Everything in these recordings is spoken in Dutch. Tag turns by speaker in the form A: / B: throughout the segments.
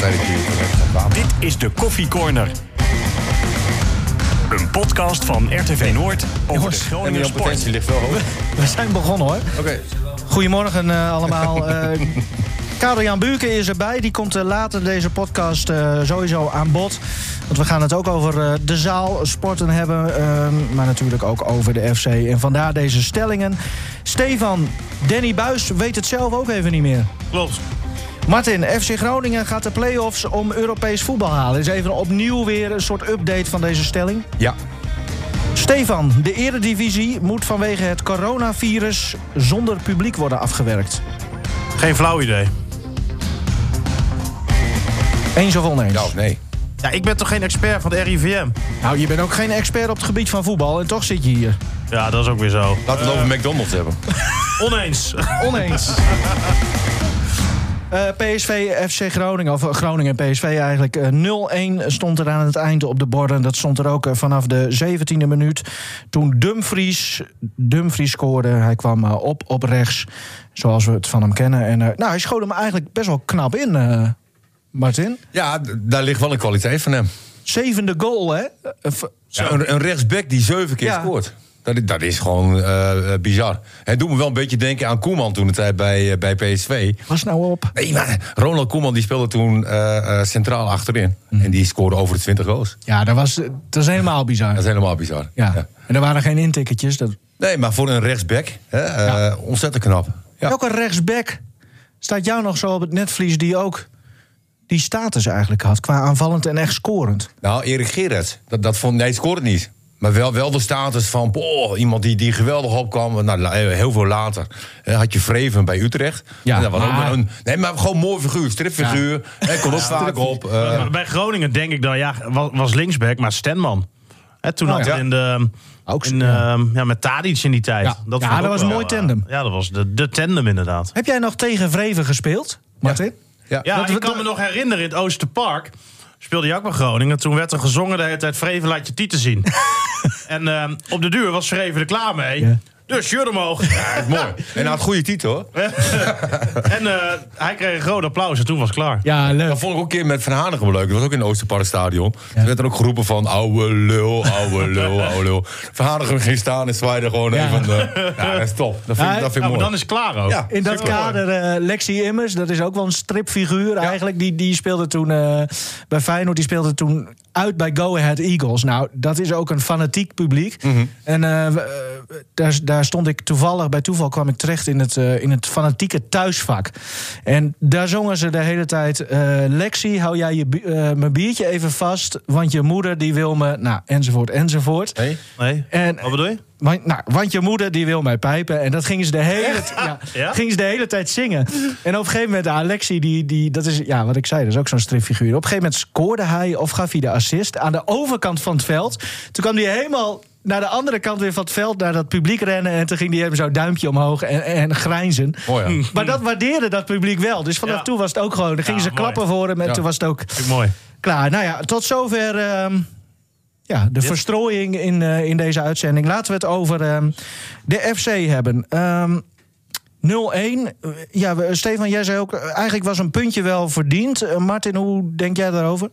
A: bij de buurt.
B: Dit is de Koffie Corner. Een podcast van RTV Noord over de
C: Jongens,
A: En
B: Groninger
A: die
B: sport.
A: potentie ligt wel hoog.
C: We zijn begonnen hoor.
A: Oké.
C: Goedemorgen eh, allemaal. Eh Karel-Jan Buurken is erbij. Die komt eh, later deze podcast eh, sowieso aan bod. Want we gaan het ook over eh, de zaalsporten hebben. eh, maar natuurlijk ook over de FC. En vandaar deze stellingen. Stefan, Danny Buis weet het zelf ook even niet meer.
D: Klopt.
C: Martin, FC Groningen gaat de play-offs om Europees voetbal halen. Is even opnieuw weer een soort update van deze stelling.
A: Ja.
C: Stefan, de eredivisie moet vanwege het coronavirus zonder publiek worden afgewerkt.
D: Geen flauw idee.
C: Eens of oneens?
A: Ja of nee?
D: Ja, ik ben toch geen expert van de RIVM?
C: Nou, je bent ook geen expert op het gebied van voetbal en toch zit je hier.
D: Ja, dat is ook weer zo.
A: Laten we het over McDonald's hebben.
D: Oneens.
C: Oneens. Eh, PSV, FC Groningen, of eh, Groningen en PSV eigenlijk. eh, 0-1 stond er aan het eind op de borden. Dat stond er ook eh, vanaf de 17e minuut. Toen Dumfries, Dumfries scoorde. Hij kwam eh, op op rechts, zoals we het van hem kennen. En, eh, nou, hij schoot hem eigenlijk best wel knap in, eh, Martin.
A: Ja, d- daar ligt wel een kwaliteit van hem.
C: Zevende goal, hè? Eh, v-
A: Ja, een, een rechtsback die zeven keer
C: Ja.
A: scoort. Dat, i- dat is gewoon eh, eh, bizar. Het doet me wel een beetje denken aan Koeman toen de tijd bij, eh, bij PSV.
C: Was nou op.
A: Nee, maar Ronald Koeman die speelde toen eh, eh, centraal achterin.
C: Mhm.
A: En die scoorde over de 20 goals.
C: Ja, dat was, dat is helemaal bizar.
A: Dat is helemaal bizar.
C: Ja.
A: Ja.
C: En er waren geen intikketjes. Dat...
A: Nee, maar voor een rechtsback, hè, eh, ontzettend knap. Ja.
C: Welke rechtsback staat jou nog zo op het netvlies die ook die status eigenlijk had qua aanvallend en echt scorend?
A: Nou, Erik Gerrits, dat, dat vond, nee, scoorde niet. Maar wel, wel de status van boh, iemand die, die geweldig opkwam. Nou, la- heel veel later hè, had je Vreven bij Utrecht.
C: Ja,
A: En dat was ook
C: maar-
A: wel een, nee, maar gewoon mooi figuur, stripfiguur. Hij kon ook vaak op. eh,
D: Maar Bij Groningen denk ik dan, ja, was, was linksback, maar Stenman. Hè, toen
C: Oh,
D: had
A: ja.
D: hij in de...
C: Ook
D: in,
C: zo,
D: ehm, ja, met Tadic in die tijd.
C: Ja.
D: vond
C: Ja,
D: ik
C: dat
D: ook
C: was een
D: wel,
C: mooi
D: eh,
C: tandem.
D: ja, dat was de, de tandem inderdaad.
C: Heb jij nog tegen Vreven gespeeld, Martin?
A: ja.
D: Ja,
C: Dat-
D: ik
C: dat-
D: kan me nog herinneren in het Oosterpark. Speelde je ook bij Groningen. Toen werd er gezongen de hele tijd... Vreven laat je tieten zien. en ehm, op de duur was Vreven er klaar mee.
C: Ja.
D: Dus shirt omhoog.
A: dat is mooi. En hij had goede titel hoor.
D: en eh, hij kreeg een groot applaus en toen was het klaar.
C: Ja, leuk.
A: Dat vond ik ook een keer met Van Hanegem leuk. Dat was ook in het Oosterparkstadion. Er werd er ook geroepen van ouwe lul, ouwe lul, ouwe lul. Van Hanegem ging staan en zwaaide gewoon
C: Ja.
A: even. eh, ja, dat is top. Dat vind, ik- dat
C: Ja,
A: vind
D: Ja,
A: ik
D: maar
A: mooi.
D: dan is het klaar ook.
A: Ja.
C: In dat
A: Supermooi.
C: kader eh, Lexi Immers, dat is ook wel een stripfiguur eigenlijk. Die, die speelde toen eh, bij Feyenoord, die speelde toen uit bij Go Ahead Eagles. Nou, dat is ook een fanatiek publiek. En eh, we- eh, daar, daar stond ik toevallig, bij toeval kwam ik terecht in het, eh, in het fanatieke thuisvak. En daar zongen ze de hele tijd... eh, Lexi, hou jij je, bi- eh, mijn biertje even vast, want je moeder die wil me... Nou, enzovoort, enzovoort.
A: Nee?
D: Nee.
C: En
D: Wat bedoel je?
C: want, nou, want je moeder die wil mij pijpen. En dat gingen ze de hele, ja,
D: Ja?
C: gingen ze de hele tijd zingen. En op een gegeven moment, Alexi, die, die, dat is ja, wat ik zei, dat is ook zo'n stripfiguur. Op een gegeven moment scoorde hij of gaf hij de assist aan de overkant van het veld. Toen kwam hij helemaal naar de andere kant weer van het veld, naar dat publiek rennen. En toen ging hij even zo'n duimpje omhoog en, en grijnzen.
A: Mooi ja.
C: Maar dat waardeerde dat publiek wel. Dus vanaf
D: Ja.
C: toen was het ook gewoon. Dan gingen
D: Ja,
C: ze
D: mooi.
C: klappen voor hem. En
A: Ja.
C: toen was het ook
D: Vind ik mooi.
C: klaar. Nou ja, tot zover ehm, ja, de verstrooiing in, eh, in deze uitzending. Laten we het over ehm, de FC hebben. Ehm, 0-1. Eh, Ja, we- Stefan, jij zei ook, eh, eigenlijk was een puntje wel verdiend. Eh, Martin, hoe denk jij daarover?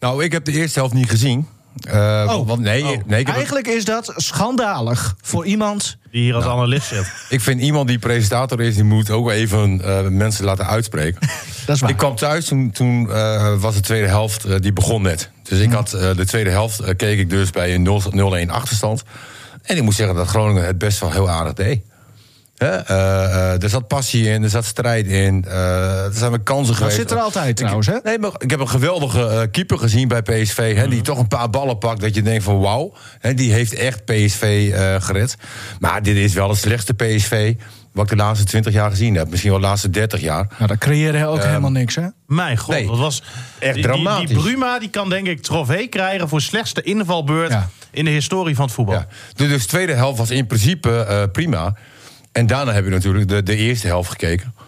A: Nou, ik heb de eerste helft niet gezien. Eh,
C: Oh.
A: Want nee, nee ik, heb-
C: Eigenlijk is dat schandalig voor iemand.
D: Die hier als
C: Nou.
D: analist zit.
A: ik vind iemand die presentator is, die moet ook even eh, mensen laten uitspreken.
C: Dat is waar.
A: Ik kwam thuis, toen, toen eh, was de tweede helft, eh, die begon net. Dus
C: Mm.
A: ik had eh, de tweede helft, eh, keek ik dus bij een 0 0-1 achterstand. En ik moet zeggen dat Groningen het best wel heel aardig deed. Hè? Eh, eh, er zat passie in, er zat strijd in, eh, er zijn wel kansen
C: dat
A: geweest.
C: zit er altijd trouwens, hè?
A: Nee, maar ik heb een geweldige eh, keeper gezien bij PSV. Hè,
C: Mm.
A: Die toch een paar ballen pakt dat je denkt van wauw. hè, Die heeft echt PSV eh, gered. Maar dit is wel het slechtste PSV wat ik de laatste 20 jaar gezien heb. Misschien wel de laatste 30 jaar.
C: Nou, dat creëerde
A: Ehm,
C: ook helemaal niks, hè? Oh,
D: Mijn god,
A: Nee.
D: dat was... die- die,
A: dramatisch.
D: Die, Bruma die kan denk ik trofee krijgen voor slechtste invalbeurt...
C: Ja.
D: in de historie van het voetbal.
A: Ja. Dus de tweede helft was in principe eh, prima. En daarna heb je natuurlijk de, de eerste helft gekeken.
C: Oh,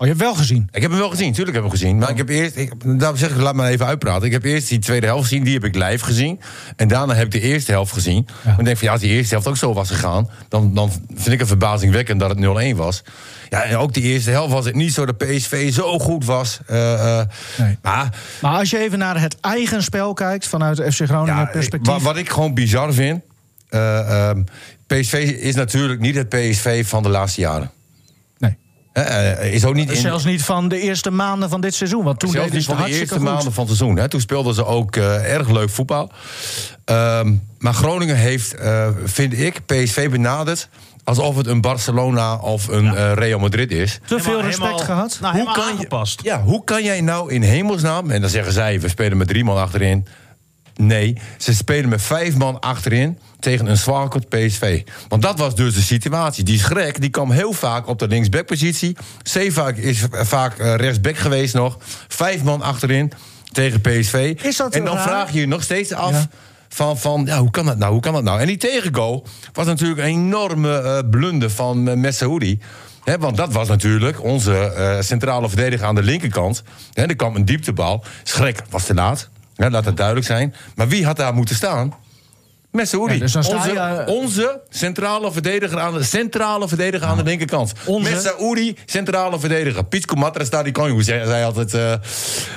C: je hebt wel gezien.
A: Ik heb hem wel gezien, tuurlijk heb ik hem gezien. Maar ik heb eerst, ik, daarom zeg ik, laat me even uitpraten. Ik heb eerst die tweede helft gezien, die heb ik live gezien. En daarna heb ik de eerste helft gezien.
C: Ja.
A: En ik denk van, ja, als die eerste helft ook zo was gegaan... dan, dan vind ik het verbazingwekkend dat het 0-1 was. Ja, en ook die eerste helft was het niet zo dat PSV zo goed was. Eh, eh,
C: Nee.
A: Maar
C: Maar als je even naar het eigen spel kijkt vanuit FC Groningen
A: ja,
C: perspectief.
A: wa- Wat ik gewoon bizar vind... eh, ehm, PSV is natuurlijk niet het PSV van de laatste jaren.
C: nee.
A: Eh, eh, is ook niet in-
C: Zelfs niet van de eerste maanden van dit seizoen. Want toen
A: Zelfs
C: deden ze
A: niet
C: het
A: van de
C: hartstikke
A: eerste
C: goed.
A: maanden van het seizoen. Hè. Toen speelden ze ook eh, erg leuk voetbal. Ehm, maar Groningen heeft, eh, vind ik, PSV benaderd... alsof het een Barcelona of een eh, Real Madrid is.
C: Te veel
D: Helemaal-
C: respect
D: helemaal-
C: gehad.
D: Nou, helemaal
A: kan je-
D: aangepast.
A: Ja, hoe kan jij nou in hemelsnaam... en dan zeggen zij, we spelen met drie man achterin... Nee, ze spelen met vijf man achterin tegen een zwakkend PSV. Want dat was dus de situatie. Die schrek die kwam heel vaak op de linksbackpositie. Zeevaak is vaak eh, rechtsback geweest nog. Vijf man achterin tegen PSV.
C: Is dat
A: en dan
C: raar?
A: vraag je je nog steeds af...
C: Ja.
A: Van, van ja, hoe kan dat nou? Hoe kan dat nou? En die tegengoal was natuurlijk een enorme eh, blunder van uh, Messaoudi. Hè, want dat was natuurlijk onze eh, centrale verdediger aan de linkerkant. Hè, er kwam een dieptebal. Schrek was te laat. Hè, laat dat duidelijk zijn. Maar wie had daar moeten staan? Messaoudi.
C: Ja, dus dan sta
A: onze,
C: je, eh,
A: onze centrale verdediger aan de, centrale verdediger aan de linkerkant.
C: Onze?
A: Messaoudi, centrale verdediger. Piet Comatra staat die konjo. Zij, zei altijd eh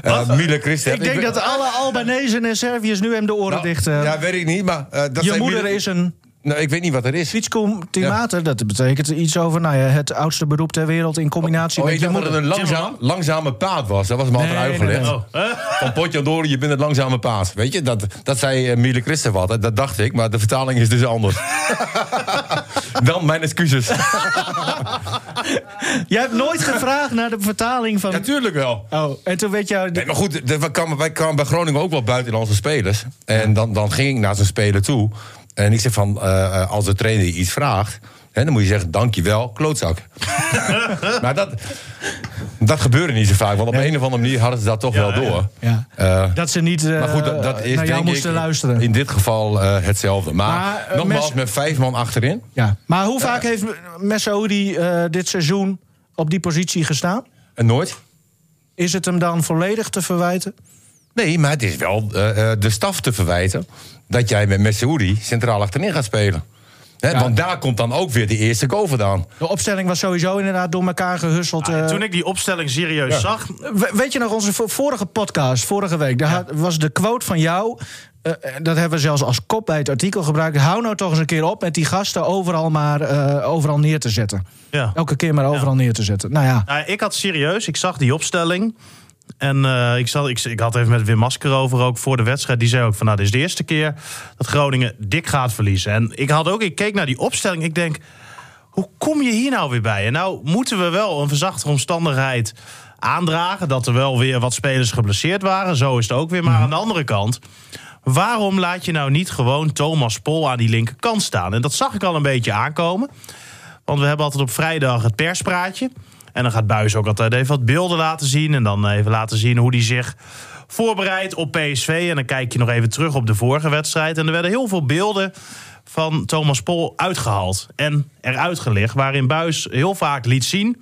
A: eh Miele Christen.
C: Ik denk
A: ben-
C: dat alle Albanezen en Serviërs nu hem de oren
A: Nou,
C: dicht. eh,
A: Ja, weet ik niet, maar... eh, dat
C: je
A: zijn
C: moeder
A: midden-
C: is een
A: Nou, ik weet niet wat er is.
C: Fietscom Timater. Dat betekent iets over nou ja, het oudste beroep ter wereld in combinatie
A: Oh,
C: met
A: ik
C: je
A: dacht dat
C: moeder.
A: het een langzaam, langzame paard was. Dat was me altijd
C: Nee, nee,
A: uitgelegd.
C: nee.
D: Oh, eh?
A: Van Potjandori, je bent het langzame paard. Weet je, dat, dat zei eh, Miele Christen wat. hè. Dat dacht ik, maar de vertaling is dus anders. Dan mijn excuses.
C: Jij hebt nooit gevraagd naar de vertaling van...
A: Natuurlijk wel.
C: Oh, en toen weet jou...
A: Nee, maar goed, de- wij kwamen, wij kwamen bij Groningen ook wel buitenlandse spelers. En dan, dan ging ik naar zo'n speler toe. En ik zeg van, eh, eh, als de trainer je iets vraagt... Hè, dan moet je zeggen, dankjewel, klootzak. maar dat, dat gebeurde niet zo vaak. Want op een of andere manier hadden ze dat toch wel door.
C: Ja.
A: Eh,
C: Dat ze niet eh,
A: maar goed, dat, dat is
C: naar jou
A: denk
C: moesten
A: ik
C: luisteren.
A: in dit geval eh, hetzelfde. Maar,
C: Maar, eh,
A: nogmaals,
C: mes-
A: met vijf man achterin.
C: Ja. Maar hoe
A: Eh,
C: vaak heeft Messaoudi eh, dit seizoen op die positie gestaan?
A: En nooit.
C: Is het hem dan volledig te verwijten?
A: Nee, maar het is wel eh, eh, de staf te verwijten dat jij met Messouri centraal achterin gaat spelen. Hè,
C: Ja.
A: Want daar komt dan ook weer de eerste goal vandaan.
C: De opstelling was sowieso inderdaad door elkaar
A: Ah,
C: gehusseld. eh.
D: Toen ik die opstelling serieus zag,
C: We- Weet je nog, onze vo- vorige podcast, vorige week, daar had- was de quote van jou. eh, dat hebben we zelfs als kop bij het artikel gebruikt. Hou nou toch eens een keer op met die gasten overal maar eh, overal neer te zetten.
D: Ja.
C: Elke keer maar overal neer te zetten. Nou ja,
D: Nou, ik had serieus, ik zag die opstelling. En eh, ik, zat, ik, ik had even met Wim Masker over ook voor de wedstrijd. Die zei ook van nou, dit is de eerste keer dat Groningen dik gaat verliezen. En ik had ook, ik keek naar die opstelling. Ik denk, hoe kom je hier nou weer bij? En nou moeten we wel een verzachte omstandigheid aandragen. Dat er wel weer wat spelers geblesseerd waren. Zo is het ook weer. Maar aan de andere kant, waarom laat je nou niet gewoon Thomas Pol aan die linkerkant staan? En dat zag ik al een beetje aankomen. Want we hebben altijd op vrijdag het perspraatje. En dan gaat Buis ook altijd even wat beelden laten zien. En dan even laten zien hoe hij zich voorbereidt op PSV. En dan kijk je nog even terug op de vorige wedstrijd. En er werden heel veel beelden van Thomas Pol uitgehaald. En eruit gelegd. Waarin Buis heel vaak liet zien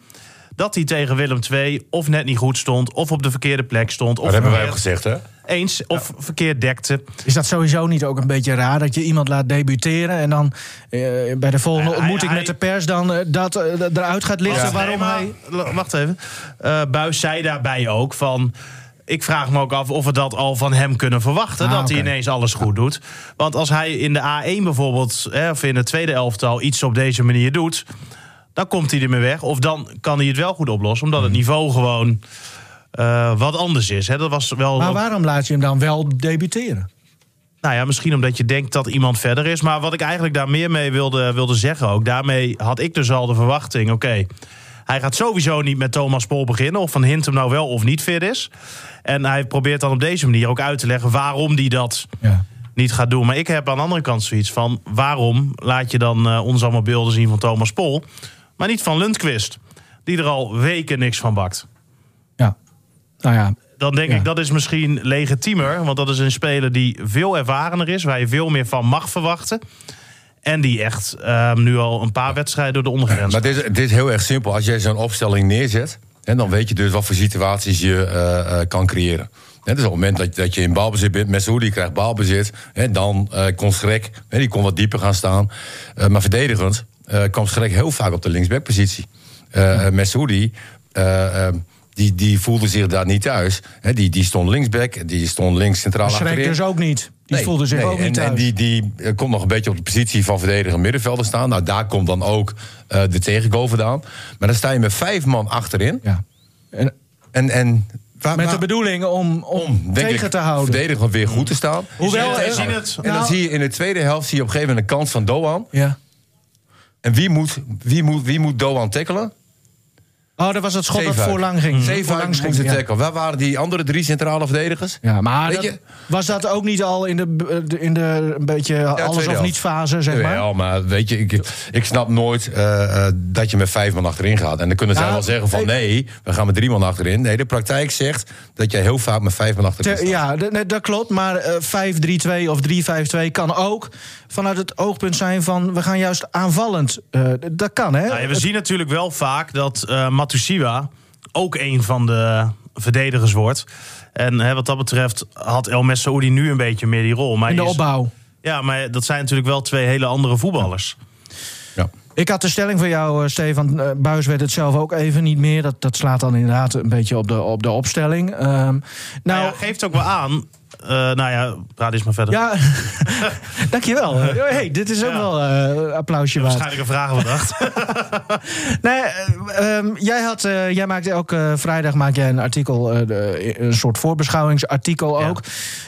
D: dat hij tegen Willem II of net niet goed stond. Of op de verkeerde plek stond. Of
A: Dat hebben wij ook
D: verkeerd
A: gezegd, hè?
D: eens of verkeerd dekte.
C: is dat sowieso niet ook een beetje raar dat je iemand laat debuteren en dan eh, bij de volgende
D: Hij-
C: ontmoeting
D: hij-
C: met de pers dan eh, dat eh, d- eruit gaat lichten
D: Ja.
C: waarom
D: Nee, maar-
C: hij.
D: L- Wacht even. Eh, Buis zei daarbij ook van... Ik vraag me ook af of we dat al van hem kunnen verwachten.
C: Ah,
D: dat hij
C: oké.
D: ineens alles goed doet. Want als hij in de A1 bijvoorbeeld, hè, of in het tweede elftal, iets op deze manier doet. dan komt hij ermee weg. Of dan kan hij het wel goed oplossen, omdat het
C: Hmm.
D: niveau gewoon eh, wat anders is. Hè. Dat was wel.
C: Maar waarom laat je hem dan wel debuteren?
D: Nou ja, misschien omdat je denkt dat iemand verder is. Maar wat ik eigenlijk daar meer mee wilde, wilde zeggen ook. Daarmee had ik dus al de verwachting. Oké, hij gaat sowieso niet met Thomas Pol beginnen. Of Van Hintem nou wel of niet fit is. En hij probeert dan op deze manier ook uit te leggen waarom hij dat
C: Ja.
D: niet gaat doen. Maar ik heb aan de andere kant zoiets van... waarom laat je dan eh, ons allemaal beelden zien van Thomas Pol... maar niet van Lundqvist, die er al weken niks van bakt.
C: ja. Nou ja,
D: Dan denk
C: Ja.
D: ik dat is misschien legitiemer. Want dat is een speler die veel ervarener is. Waar je veel meer van mag verwachten. En die echt ehm, nu al een paar wedstrijden door de ondergrens.
A: Maar het is, het is heel erg simpel. Als jij zo'n opstelling neerzet, En dan weet je dus wat voor situaties je eh, eh, kan creëren. Hè, dus op het moment dat, dat je in balbezit bent, Messi krijgt balbezit. Hè, dan eh, kon Schrek, hè, die kon wat dieper gaan staan. Eh, maar verdedigend eh, kwam Schrek heel vaak op de linksbackpositie. Eh eh, Messoudi, eh, eh, die, die voelde zich daar niet thuis. Hè, die, die stond linksback, die stond links centraal
C: Schrek
A: achterin.
C: dus ook niet. Die
A: Nee,
C: voelde zich
A: nee,
C: ook niet
A: en,
C: thuis.
A: En die, die eh, komt nog een beetje op de positie van verdediger middenvelder staan. Nou, daar komt dan ook eh, de tegengoal vandaan. Maar dan sta je met vijf man achterin.
C: ja. En
A: En, en waar-
C: met
A: waar-
C: de bedoeling om, om,
A: om, denk
C: tegen
A: ik,
C: te houden.
A: verdedigend weer goed te staan.
D: Hoewel,
A: en,
D: we zien het.
A: En dan
C: Nou-
A: zie je in de tweede helft zie je op een gegeven moment een kans van Doan.
C: Ja.
A: En wie moet, wie moet, wie moet Doan tackelen?
C: Oh, dat was dat schot dat
A: Zeefuik. Mm.
C: voorlang ging.
A: Zeefuik
C: Voorlangs
A: moest
C: ging,
A: de
C: ja.
A: tackle. Waar waren die andere drie centrale verdedigers?
C: Ja, maar
A: Weet
C: dat-
A: je-
C: was dat ook niet al in de, eh, de- in de een beetje alles
A: tweede
C: of
A: helft.
C: niets fase, zeg maar?
A: Jawel, maar weet je, ik, ik snap nooit eh, eh, dat je met vijf man achterin gaat. En dan kunnen zij
C: Ja,
A: wel zeggen van
C: Nou, ik-
A: nee, we gaan met drie man achterin. Nee, de praktijk zegt dat jij heel vaak met vijf man achterin
C: Te-
A: staat.
C: ja, d- nee, dat klopt. Maar eh, 5-3-2 of 3-5-2 kan ook vanuit het oogpunt zijn van... we gaan juist aanvallend. Eh, d- dat kan, hè?
D: Nou ja, we zien natuurlijk wel vaak dat eh Matusiwa ook een van de verdedigers wordt. En hè, wat dat betreft had El Messaoudi nu een beetje meer die rol. Maar
C: in de
D: die is-
C: opbouw.
D: Ja, maar dat zijn natuurlijk wel twee hele andere voetballers.
A: Ja.
C: Ik had de stelling voor jou, eh, Stefan. Eh, Buis werd het zelf ook even niet meer. Dat, dat slaat dan inderdaad een beetje op de, op de opstelling. Ehm, nou,
D: Nou, ja, geeft ook wel aan. eh, nou ja, praat eens maar verder.
C: ja, dankjewel. Eh, hey, dit is ook
D: Ja.
C: wel eh, een applausje waard.
D: Waarschijnlijk een vraag bedacht.
C: Nee, eh, ehm, jij, had, eh, jij maakte elke vrijdag maak jij een artikel, eh, de- een soort voorbeschouwingsartikel
D: Ja.
C: ook.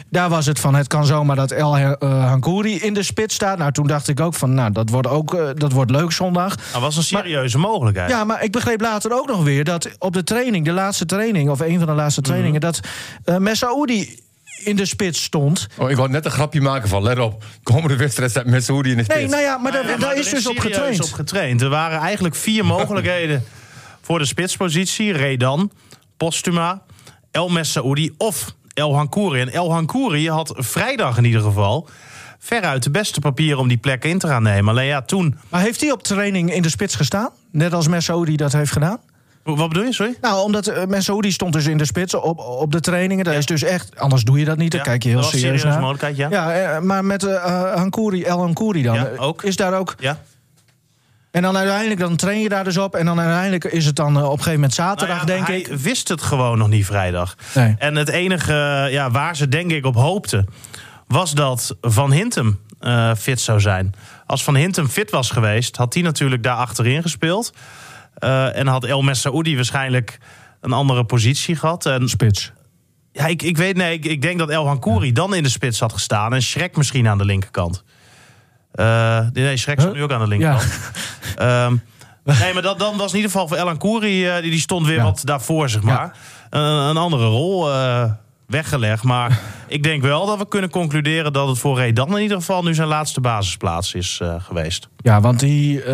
C: Daar was het van, het kan zomaar dat El Her- eh, Hankouri in de spits staat. Nou, toen dacht ik ook van, nou, dat wordt, ook, eh, dat wordt leuk zondag.
D: Dat Nou, was een serieuze mogelijkheid.
C: Ja, maar ik begreep later ook nog weer dat op de training, de laatste training, of een van de laatste
D: Mhm.
C: trainingen, dat eh Messaoudi in de spits stond.
A: Oh, ik wou net een grapje maken van, let op, komende wedstrijd staat met Saoedi in de spits.
C: Nee, nou ja, maar, daar-
D: Nou ja,
C: daar
D: maar
C: is
D: er
C: dus op
D: serieus
C: getraind.
D: op getraind. Er waren eigenlijk vier mogelijkheden voor de spitspositie. Redan, Postuma, El Messaoudi of El Hankouri. En El Hankouri had vrijdag in ieder geval veruit de beste papieren om die plek in te gaan nemen. Alleen ja, toen...
C: Maar heeft hij op training in de spits gestaan? Net als Messaoudi dat heeft gedaan?
D: Wat bedoel je, sorry?
C: Nou, omdat uh, Mensoudi stond dus in de spits op, op de trainingen. Dat is dus echt, anders doe je dat niet. Dan
D: Ja,
C: kijk je heel
D: dat was een
C: serieus
D: serieuze
C: naar.
D: mogelijkheid, ja.
C: eh, maar met eh eh, Hankouri, El Hankouri dan.
D: Ja,
C: eh,
D: ook.
C: Is daar ook.
D: Ja.
C: En dan uiteindelijk dan train je daar dus op. En dan uiteindelijk is het dan eh, op een gegeven moment
D: Nou
C: zaterdag,
D: ja,
C: denk
D: hij
C: ik.
D: wist het gewoon nog niet vrijdag.
C: Nee.
D: En het enige eh, ja, waar ze denk ik op hoopte... was dat Van Hintem eh, fit zou zijn. Als Van Hintem fit was geweest... had hij natuurlijk daar achterin gespeeld. Eh, en had El Messaoudi waarschijnlijk een andere positie gehad. En,
C: Spits.
D: ja, ik, ik weet nee, ik, ik denk dat El Hankouri dan in de spits had gestaan... en Schrek misschien aan de linkerkant. Eh, nee, Schrek staat
C: Huh?
D: nu ook aan
C: Ja.
D: de linkerkant. Ehm, nee, maar dat, dan was in ieder geval voor Elan Koeri, eh, die, die stond weer
C: Ja.
D: wat daarvoor, zeg maar. Een, een andere rol eh, weggelegd. Maar ik denk wel dat we kunnen concluderen dat het voor Redan in ieder geval nu zijn laatste basisplaats is eh, geweest.
C: Ja, want die, eh,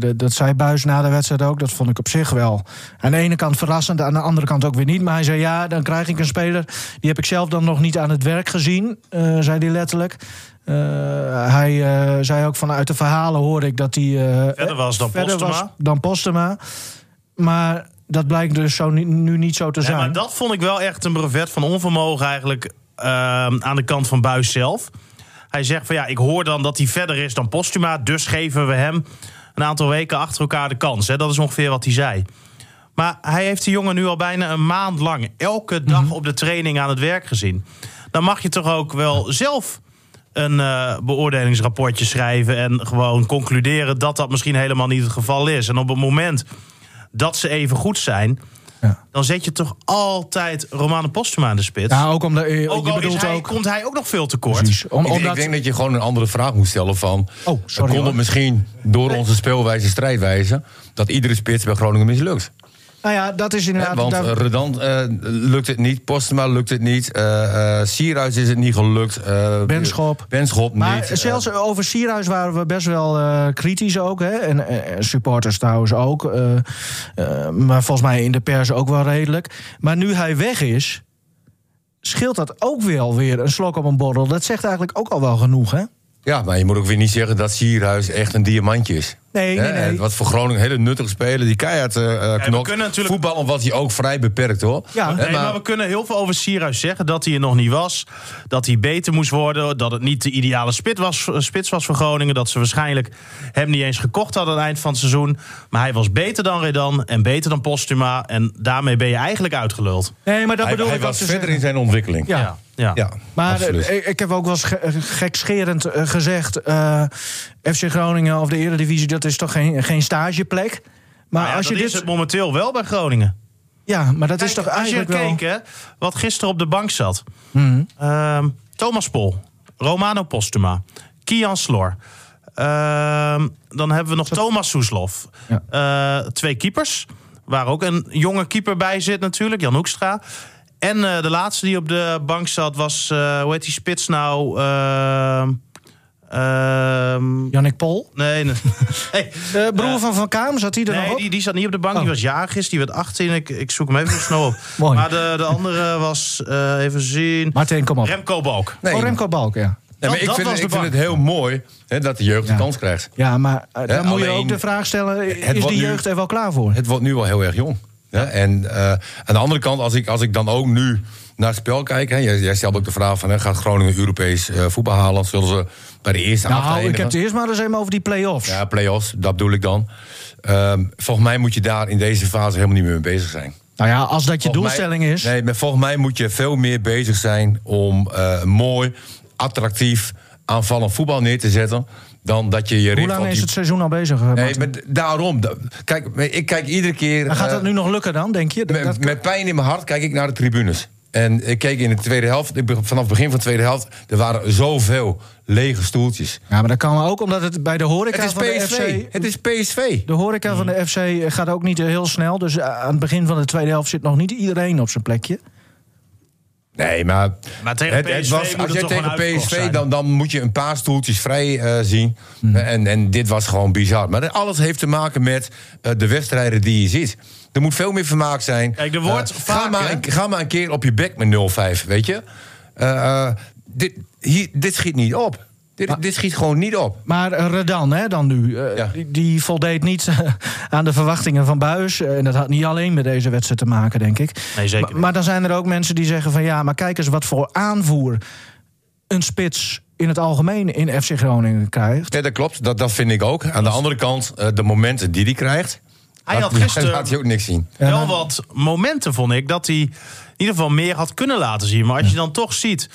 C: de- dat zei Buis na de wedstrijd ook. Dat vond ik op zich wel aan de ene kant verrassend, aan de andere kant ook weer niet. Maar hij zei ja, dan krijg ik een speler. Die heb ik zelf dan nog niet aan het werk gezien, eh, zei hij letterlijk. Eh, hij eh, zei ook vanuit de verhalen hoorde ik dat hij eh,
D: Verder was dan
C: verder
D: Postema.
C: was dan Postema. Maar dat blijkt dus zo ni- nu niet zo te
D: Ja,
C: zijn.
D: maar dat vond ik wel echt een brevet van onvermogen eigenlijk ehm, aan de kant van Buis zelf. Hij zegt van ja, ik hoor dan dat hij verder is dan Postuma, dus geven we hem een aantal weken achter elkaar de kans. Hè? Dat is ongeveer wat hij zei. Maar hij heeft die jongen nu al bijna een maand lang elke dag op de training aan het werk gezien. Dan mag je toch ook wel zelf een eh, beoordelingsrapportje schrijven en gewoon concluderen dat dat misschien helemaal niet het geval is. En op het moment dat ze even goed zijn,
C: Ja.
D: dan zet je toch altijd Romane Postuma aan de spits.
C: Ja, ook omdat eh,
D: ook
C: je
D: al is
C: bedoelt
D: hij,
C: ook.
D: komt hij ook nog veel tekort.
C: Precies, Oh, om-
A: Ik, ik
C: omdat-
A: denk dat je gewoon een andere vraag moet stellen van...
C: Oh, sorry,
A: kon
C: hoor.
A: het misschien door onze speelwijze, strijdwijze... dat iedere spits bij Groningen mislukt?
C: nou ja, dat is inderdaad.
A: Hè, want
C: daar-
A: eh, Redan eh, lukt het niet, Postma lukt het niet, eh eh, Sierhuis is het niet gelukt. eh,
C: Benschop.
A: Benschop
C: Maar
A: niet. eh,
C: zelfs over Sierhuis waren we best wel eh, kritisch ook. Hè? En eh, supporters trouwens ook. eh, eh, maar volgens mij in de pers ook wel redelijk. Maar nu hij weg is, scheelt dat ook wel weer een slok op een borrel. Dat zegt eigenlijk ook al wel genoeg, hè?
A: Eh, ja, maar je moet ook weer niet zeggen dat Sierhuis echt een diamantje is.
C: Nee, nee,
A: Hè,
C: nee.
A: en Wat voor Groningen een hele nuttige speler. Die keihard eh, eh, knokt.
D: kunnen natuurlijk-
A: Voetballen wat hij ook vrij beperkt hoor.
C: Ja.
A: Hè,
C: Nee,
D: Nee, maar... we kunnen heel veel over Sierhuis zeggen. Dat hij er nog niet was. Dat hij beter moest worden. Dat het niet de ideale spit was, eh, spits was voor Groningen. Dat ze waarschijnlijk hem niet eens gekocht hadden aan het eind van het seizoen. Maar hij was beter dan Redan en beter dan Postuma. En daarmee ben je eigenlijk uitgeluld.
C: Nee, maar dat
A: hij,
C: bedoel
A: hij
C: ik ook
A: was
C: te
A: verder in
C: zeggen.
A: zijn ontwikkeling.
C: Ja.
D: ja.
A: Ja,
C: Maar eh,
A: absoluut.
C: ik, ik heb ook wel eens ge- eh, gekscherend eh, gezegd... eh, FC Groningen of de Eredivisie, dat is toch geen, geen stageplek? Maar
D: Maar ja,
C: als je
D: dat
C: dit...
D: is het momenteel wel bij Groningen.
C: Ja, maar dat is
D: Kijk,
C: toch
D: als je
C: eigenlijk wel... Hmm.
D: keek, hè, wat gisteren op de bank zat. Ehm, Thomas Pol, Romano Postuma, Kian Slor. Ehm, dan hebben we nog Thomas Soeslof. Eh, twee keepers, waar ook een jonge keeper bij zit natuurlijk, Jan Hoekstra. En eh, de laatste die op de bank zat was, eh, hoe heet die spits nou? Ehm, ehm,
C: Jannik Pol?
D: nee, nee. Hey,
C: De Eh, broer van Van Kaam, zat hij er nog
D: Nee,
C: op?
D: die, die zat niet op de bank.
C: Oh.
D: Die was jarig, die werd 18. Ik, ik zoek hem even snel op.
C: Mooi.
D: Maar de, de andere was, eh, even zien...
C: Martin, kom op.
D: Remco Balk.
A: Nee,
C: Oh, Remco Balk, ja.
A: nee, maar
D: dat-
A: ik
D: dat
A: vind,
D: was
A: het-
D: de
A: ik vind het
D: bank.
A: heel mooi hè, dat de jeugd
C: Ja.
A: de kans krijgt.
C: Ja, maar eh, dan
A: Hè,
C: moet je
A: alleen-
C: ook de vraag stellen...
A: het
C: is
A: wordt
C: die
A: nu-
C: jeugd er wel klaar voor?
A: Het wordt nu wel heel erg jong. Ja, en eh, aan de andere kant, als ik, als ik dan ook nu naar het spel kijk... Hè, jij, jij stelt ook de vraag van, hè, gaat Groningen Europees eh, voetbal halen? Zullen ze bij de eerste acht
C: Nou, ik
A: eindigen?
C: heb het eerst maar eens even over die play-offs.
A: Ja, play-offs, dat bedoel ik dan. Ehm, volgens mij moet je daar in deze fase helemaal niet meer mee bezig zijn.
C: Nou ja, als dat je
A: Volgens mij-
C: doelstelling is...
A: Nee, maar volgens mij moet je veel meer bezig zijn om eh, mooi, attractief, aanvallend voetbal neer te zetten. Dan dat je je richt
C: Hoe lang
A: op
C: is
A: die-
C: het seizoen al bezig? eh,
A: Nee,
C: Martin?
A: maar d- daarom. Da- Kijk, ik kijk iedere keer.
C: Maar gaat
A: eh,
C: dat nu nog lukken dan, denk je? Dat- dat-
A: met, met pijn in mijn hart kijk ik naar de tribunes. En ik keek in de tweede helft, ik be- vanaf het begin van de tweede helft, er waren zoveel lege stoeltjes.
C: Ja, maar dat kan ook omdat het bij de horeca
A: Het is
C: van de
A: PSV.
C: FC...
A: Het is PSV.
C: De horeca van de FC gaat ook niet heel snel. Dus eh, aan het begin van de tweede helft zit nog niet iedereen op zijn plekje.
A: Nee, maar,
D: Maar tegen PSV moet
A: als
D: het
A: jij
D: toch
A: tegen
D: gewoon uitverkocht
A: PSV,
D: zijn.
A: dan, dan moet je een paar stoeltjes vrij eh, zien.
C: Hmm.
A: En, en dit was gewoon bizar. Maar alles heeft te maken met eh, de wedstrijden die je ziet. Er moet veel meer vermaak zijn.
D: Kijk, er wordt
A: Eh,
D: vaak,
A: ga, maar
D: hè?
A: een, ga maar een keer op je bek met 0-5, weet je. Eh, eh, dit, hier, dit schiet niet op. Dit, dit schiet gewoon niet op.
C: Maar eh, Redan, hè, dan nu, eh,
A: Ja.
C: die, die voldeed niet eh, aan de verwachtingen van Buis. Eh, En dat had niet alleen met deze wedstrijd te maken, denk ik.
D: Nee, zeker
C: Maar,
D: niet.
C: maar dan zijn er ook mensen die zeggen van... ja, maar kijk eens wat voor aanvoer een spits in het algemeen in FC Groningen krijgt.
A: Ja, dat klopt, dat, dat vind ik ook. Aan de andere kant, eh, de momenten die hij krijgt...
D: Hij
A: laat-
D: had gisteren-
A: laat hij ook niks zien.
D: wel wat momenten, vond ik, dat hij in ieder geval meer had kunnen laten zien. Maar als je dan toch ziet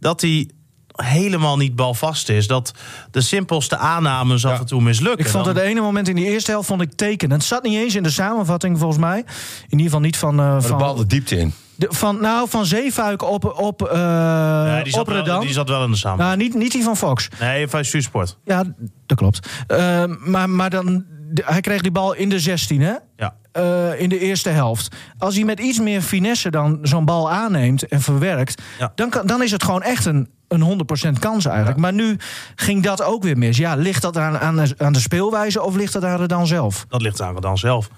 D: dat hij helemaal niet balvast is... dat de simpelste aannames af en toe mislukken...
C: Ik vond
D: dan-
C: het ene moment in die eerste helft vond ik tekenend. Het zat niet eens in de samenvatting, volgens mij. In ieder geval niet van... eh,
A: De
C: van
A: bal de diepte in.
C: De- van, nou, van Zeefuik op, op, eh
D: Ja, die,
C: op
D: zat wel,
C: Redan.
D: die zat wel in de samen.
C: Nou, niet, niet die van Fox.
D: Nee, van Sport.
C: Ja, dat klopt. Eh, maar, maar dan, de- hij kreeg die bal in de 16, hè?
D: Ja.
C: Eh, in de eerste helft. Als hij met iets meer finesse dan zo'n bal aanneemt en verwerkt...
D: Ja.
C: Dan, kan, dan is het gewoon echt een, een 100% kans eigenlijk. Maar nu ging dat ook weer mis. Ja, ligt dat aan, aan, aan de speelwijze of ligt dat aan Redan zelf?
D: Dat ligt aan Redan zelf.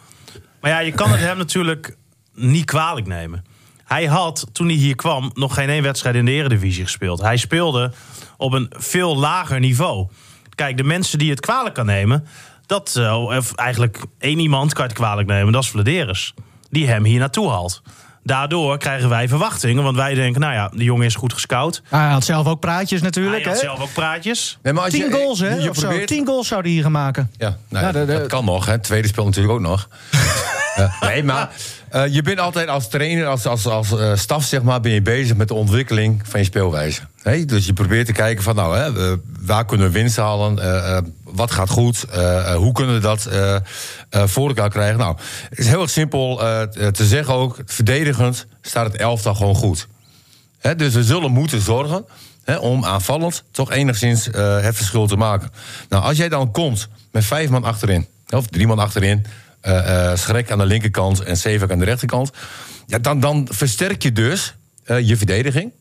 D: Maar ja, je kan het hem natuurlijk niet kwalijk nemen. Hij had, toen hij hier kwam, nog geen één wedstrijd in de Eredivisie gespeeld. Hij speelde op een veel lager niveau. Kijk, de mensen die het kwalijk kan nemen... dat eh, of eigenlijk één iemand kan het kwalijk nemen, dat is Vladeris. Die hem hier naartoe haalt. Daardoor krijgen wij verwachtingen, want wij denken... nou ja, de jongen is goed gescout.
C: Maar Nou, hij had zelf ook praatjes
D: Hij
C: natuurlijk,
D: had
C: hè?
D: zelf ook praatjes.
A: Nee, maar als
C: Tien
A: je-
C: goals, hè?
A: je- je
C: of zo.
A: probeert-
C: Tien goals zou hij hier gaan maken.
A: Ja, nou,
C: Ja, de- de-
A: dat kan nog. Hè. Het tweede speel natuurlijk ook nog. Eh, nee, maar eh, je bent altijd als trainer, als, als, als eh, staf, zeg maar, ben je bezig met de ontwikkeling van je speelwijze. Hè, dus je probeert te kijken van, nou, hè, eh, waar kunnen we winst halen? Eh, eh, wat gaat goed? Eh, eh, hoe kunnen we dat eh, eh, voor elkaar krijgen? Nou, het is heel erg simpel eh, t- te zeggen ook, verdedigend staat het elftal gewoon goed. Hè, dus we zullen moeten zorgen hè, om aanvallend toch enigszins eh, het verschil te maken. Nou, als jij dan komt met vijf man achterin, of drie man achterin, eh, eh, Schrek aan de linkerkant en Sevak aan de rechterkant, ja, dan, dan versterk je dus eh, je verdediging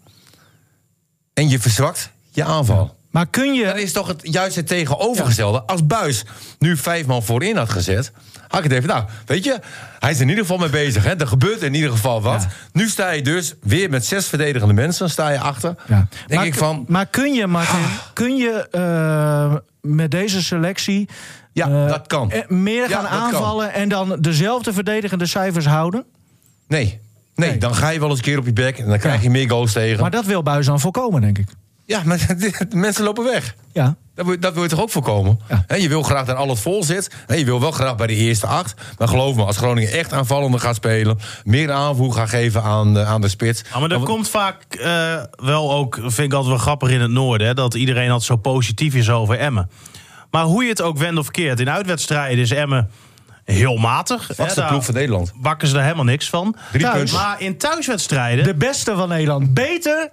A: en je verzwakt je aanval.
C: Maar kun je...
A: Dan is toch het, juist het tegenovergestelde. Als Buis nu vijf man voorin had gezet, had ik het even. Nou, weet je, hij is er in ieder geval mee bezig. Hè? Er gebeurt in ieder geval wat. Nu sta je dus weer met zes verdedigende mensen, sta je achter.
C: Ja.
A: Denk
C: maar,
A: ik van. Ah.
C: maar kun je, Martin, kun je eh, met deze selectie
A: Ja,
C: Eh,
A: dat kan.
C: eh, Meer
A: Ja,
C: gaan
A: dat kan.
C: aanvallen en dan dezelfde verdedigende cijfers houden.
A: Nee. nee,
C: Nee.
A: dan ga je wel eens een keer op je bek en dan krijg je meer goals tegen.
C: Maar dat wil Buis dan voorkomen, denk ik.
A: Ja, maar de mensen lopen weg.
C: Ja.
A: Dat wil, dat wil je toch ook voorkomen?
C: Ja.
A: Hè, je wil graag dat alles vol zit. Hè, je wil wel graag bij de eerste acht. Maar geloof me, als Groningen echt aanvallender gaat spelen... meer aanvoer gaat geven aan de, aan de spits...
D: Ja, maar dat
A: dan-
D: komt vaak eh, wel ook, vind ik altijd wel grappig in het noorden, hè, dat iedereen altijd zo positief is over Emmen. Maar hoe je het ook wendt of keert, in uitwedstrijden is Emmen heel matig. hè,
A: Vaste
D: daar
A: ploeg van Nederland.
D: Bakken ze daar helemaal niks van.
A: Drie
D: Thuis.
A: punten.
D: Maar in thuiswedstrijden.
C: De beste van Nederland. Beter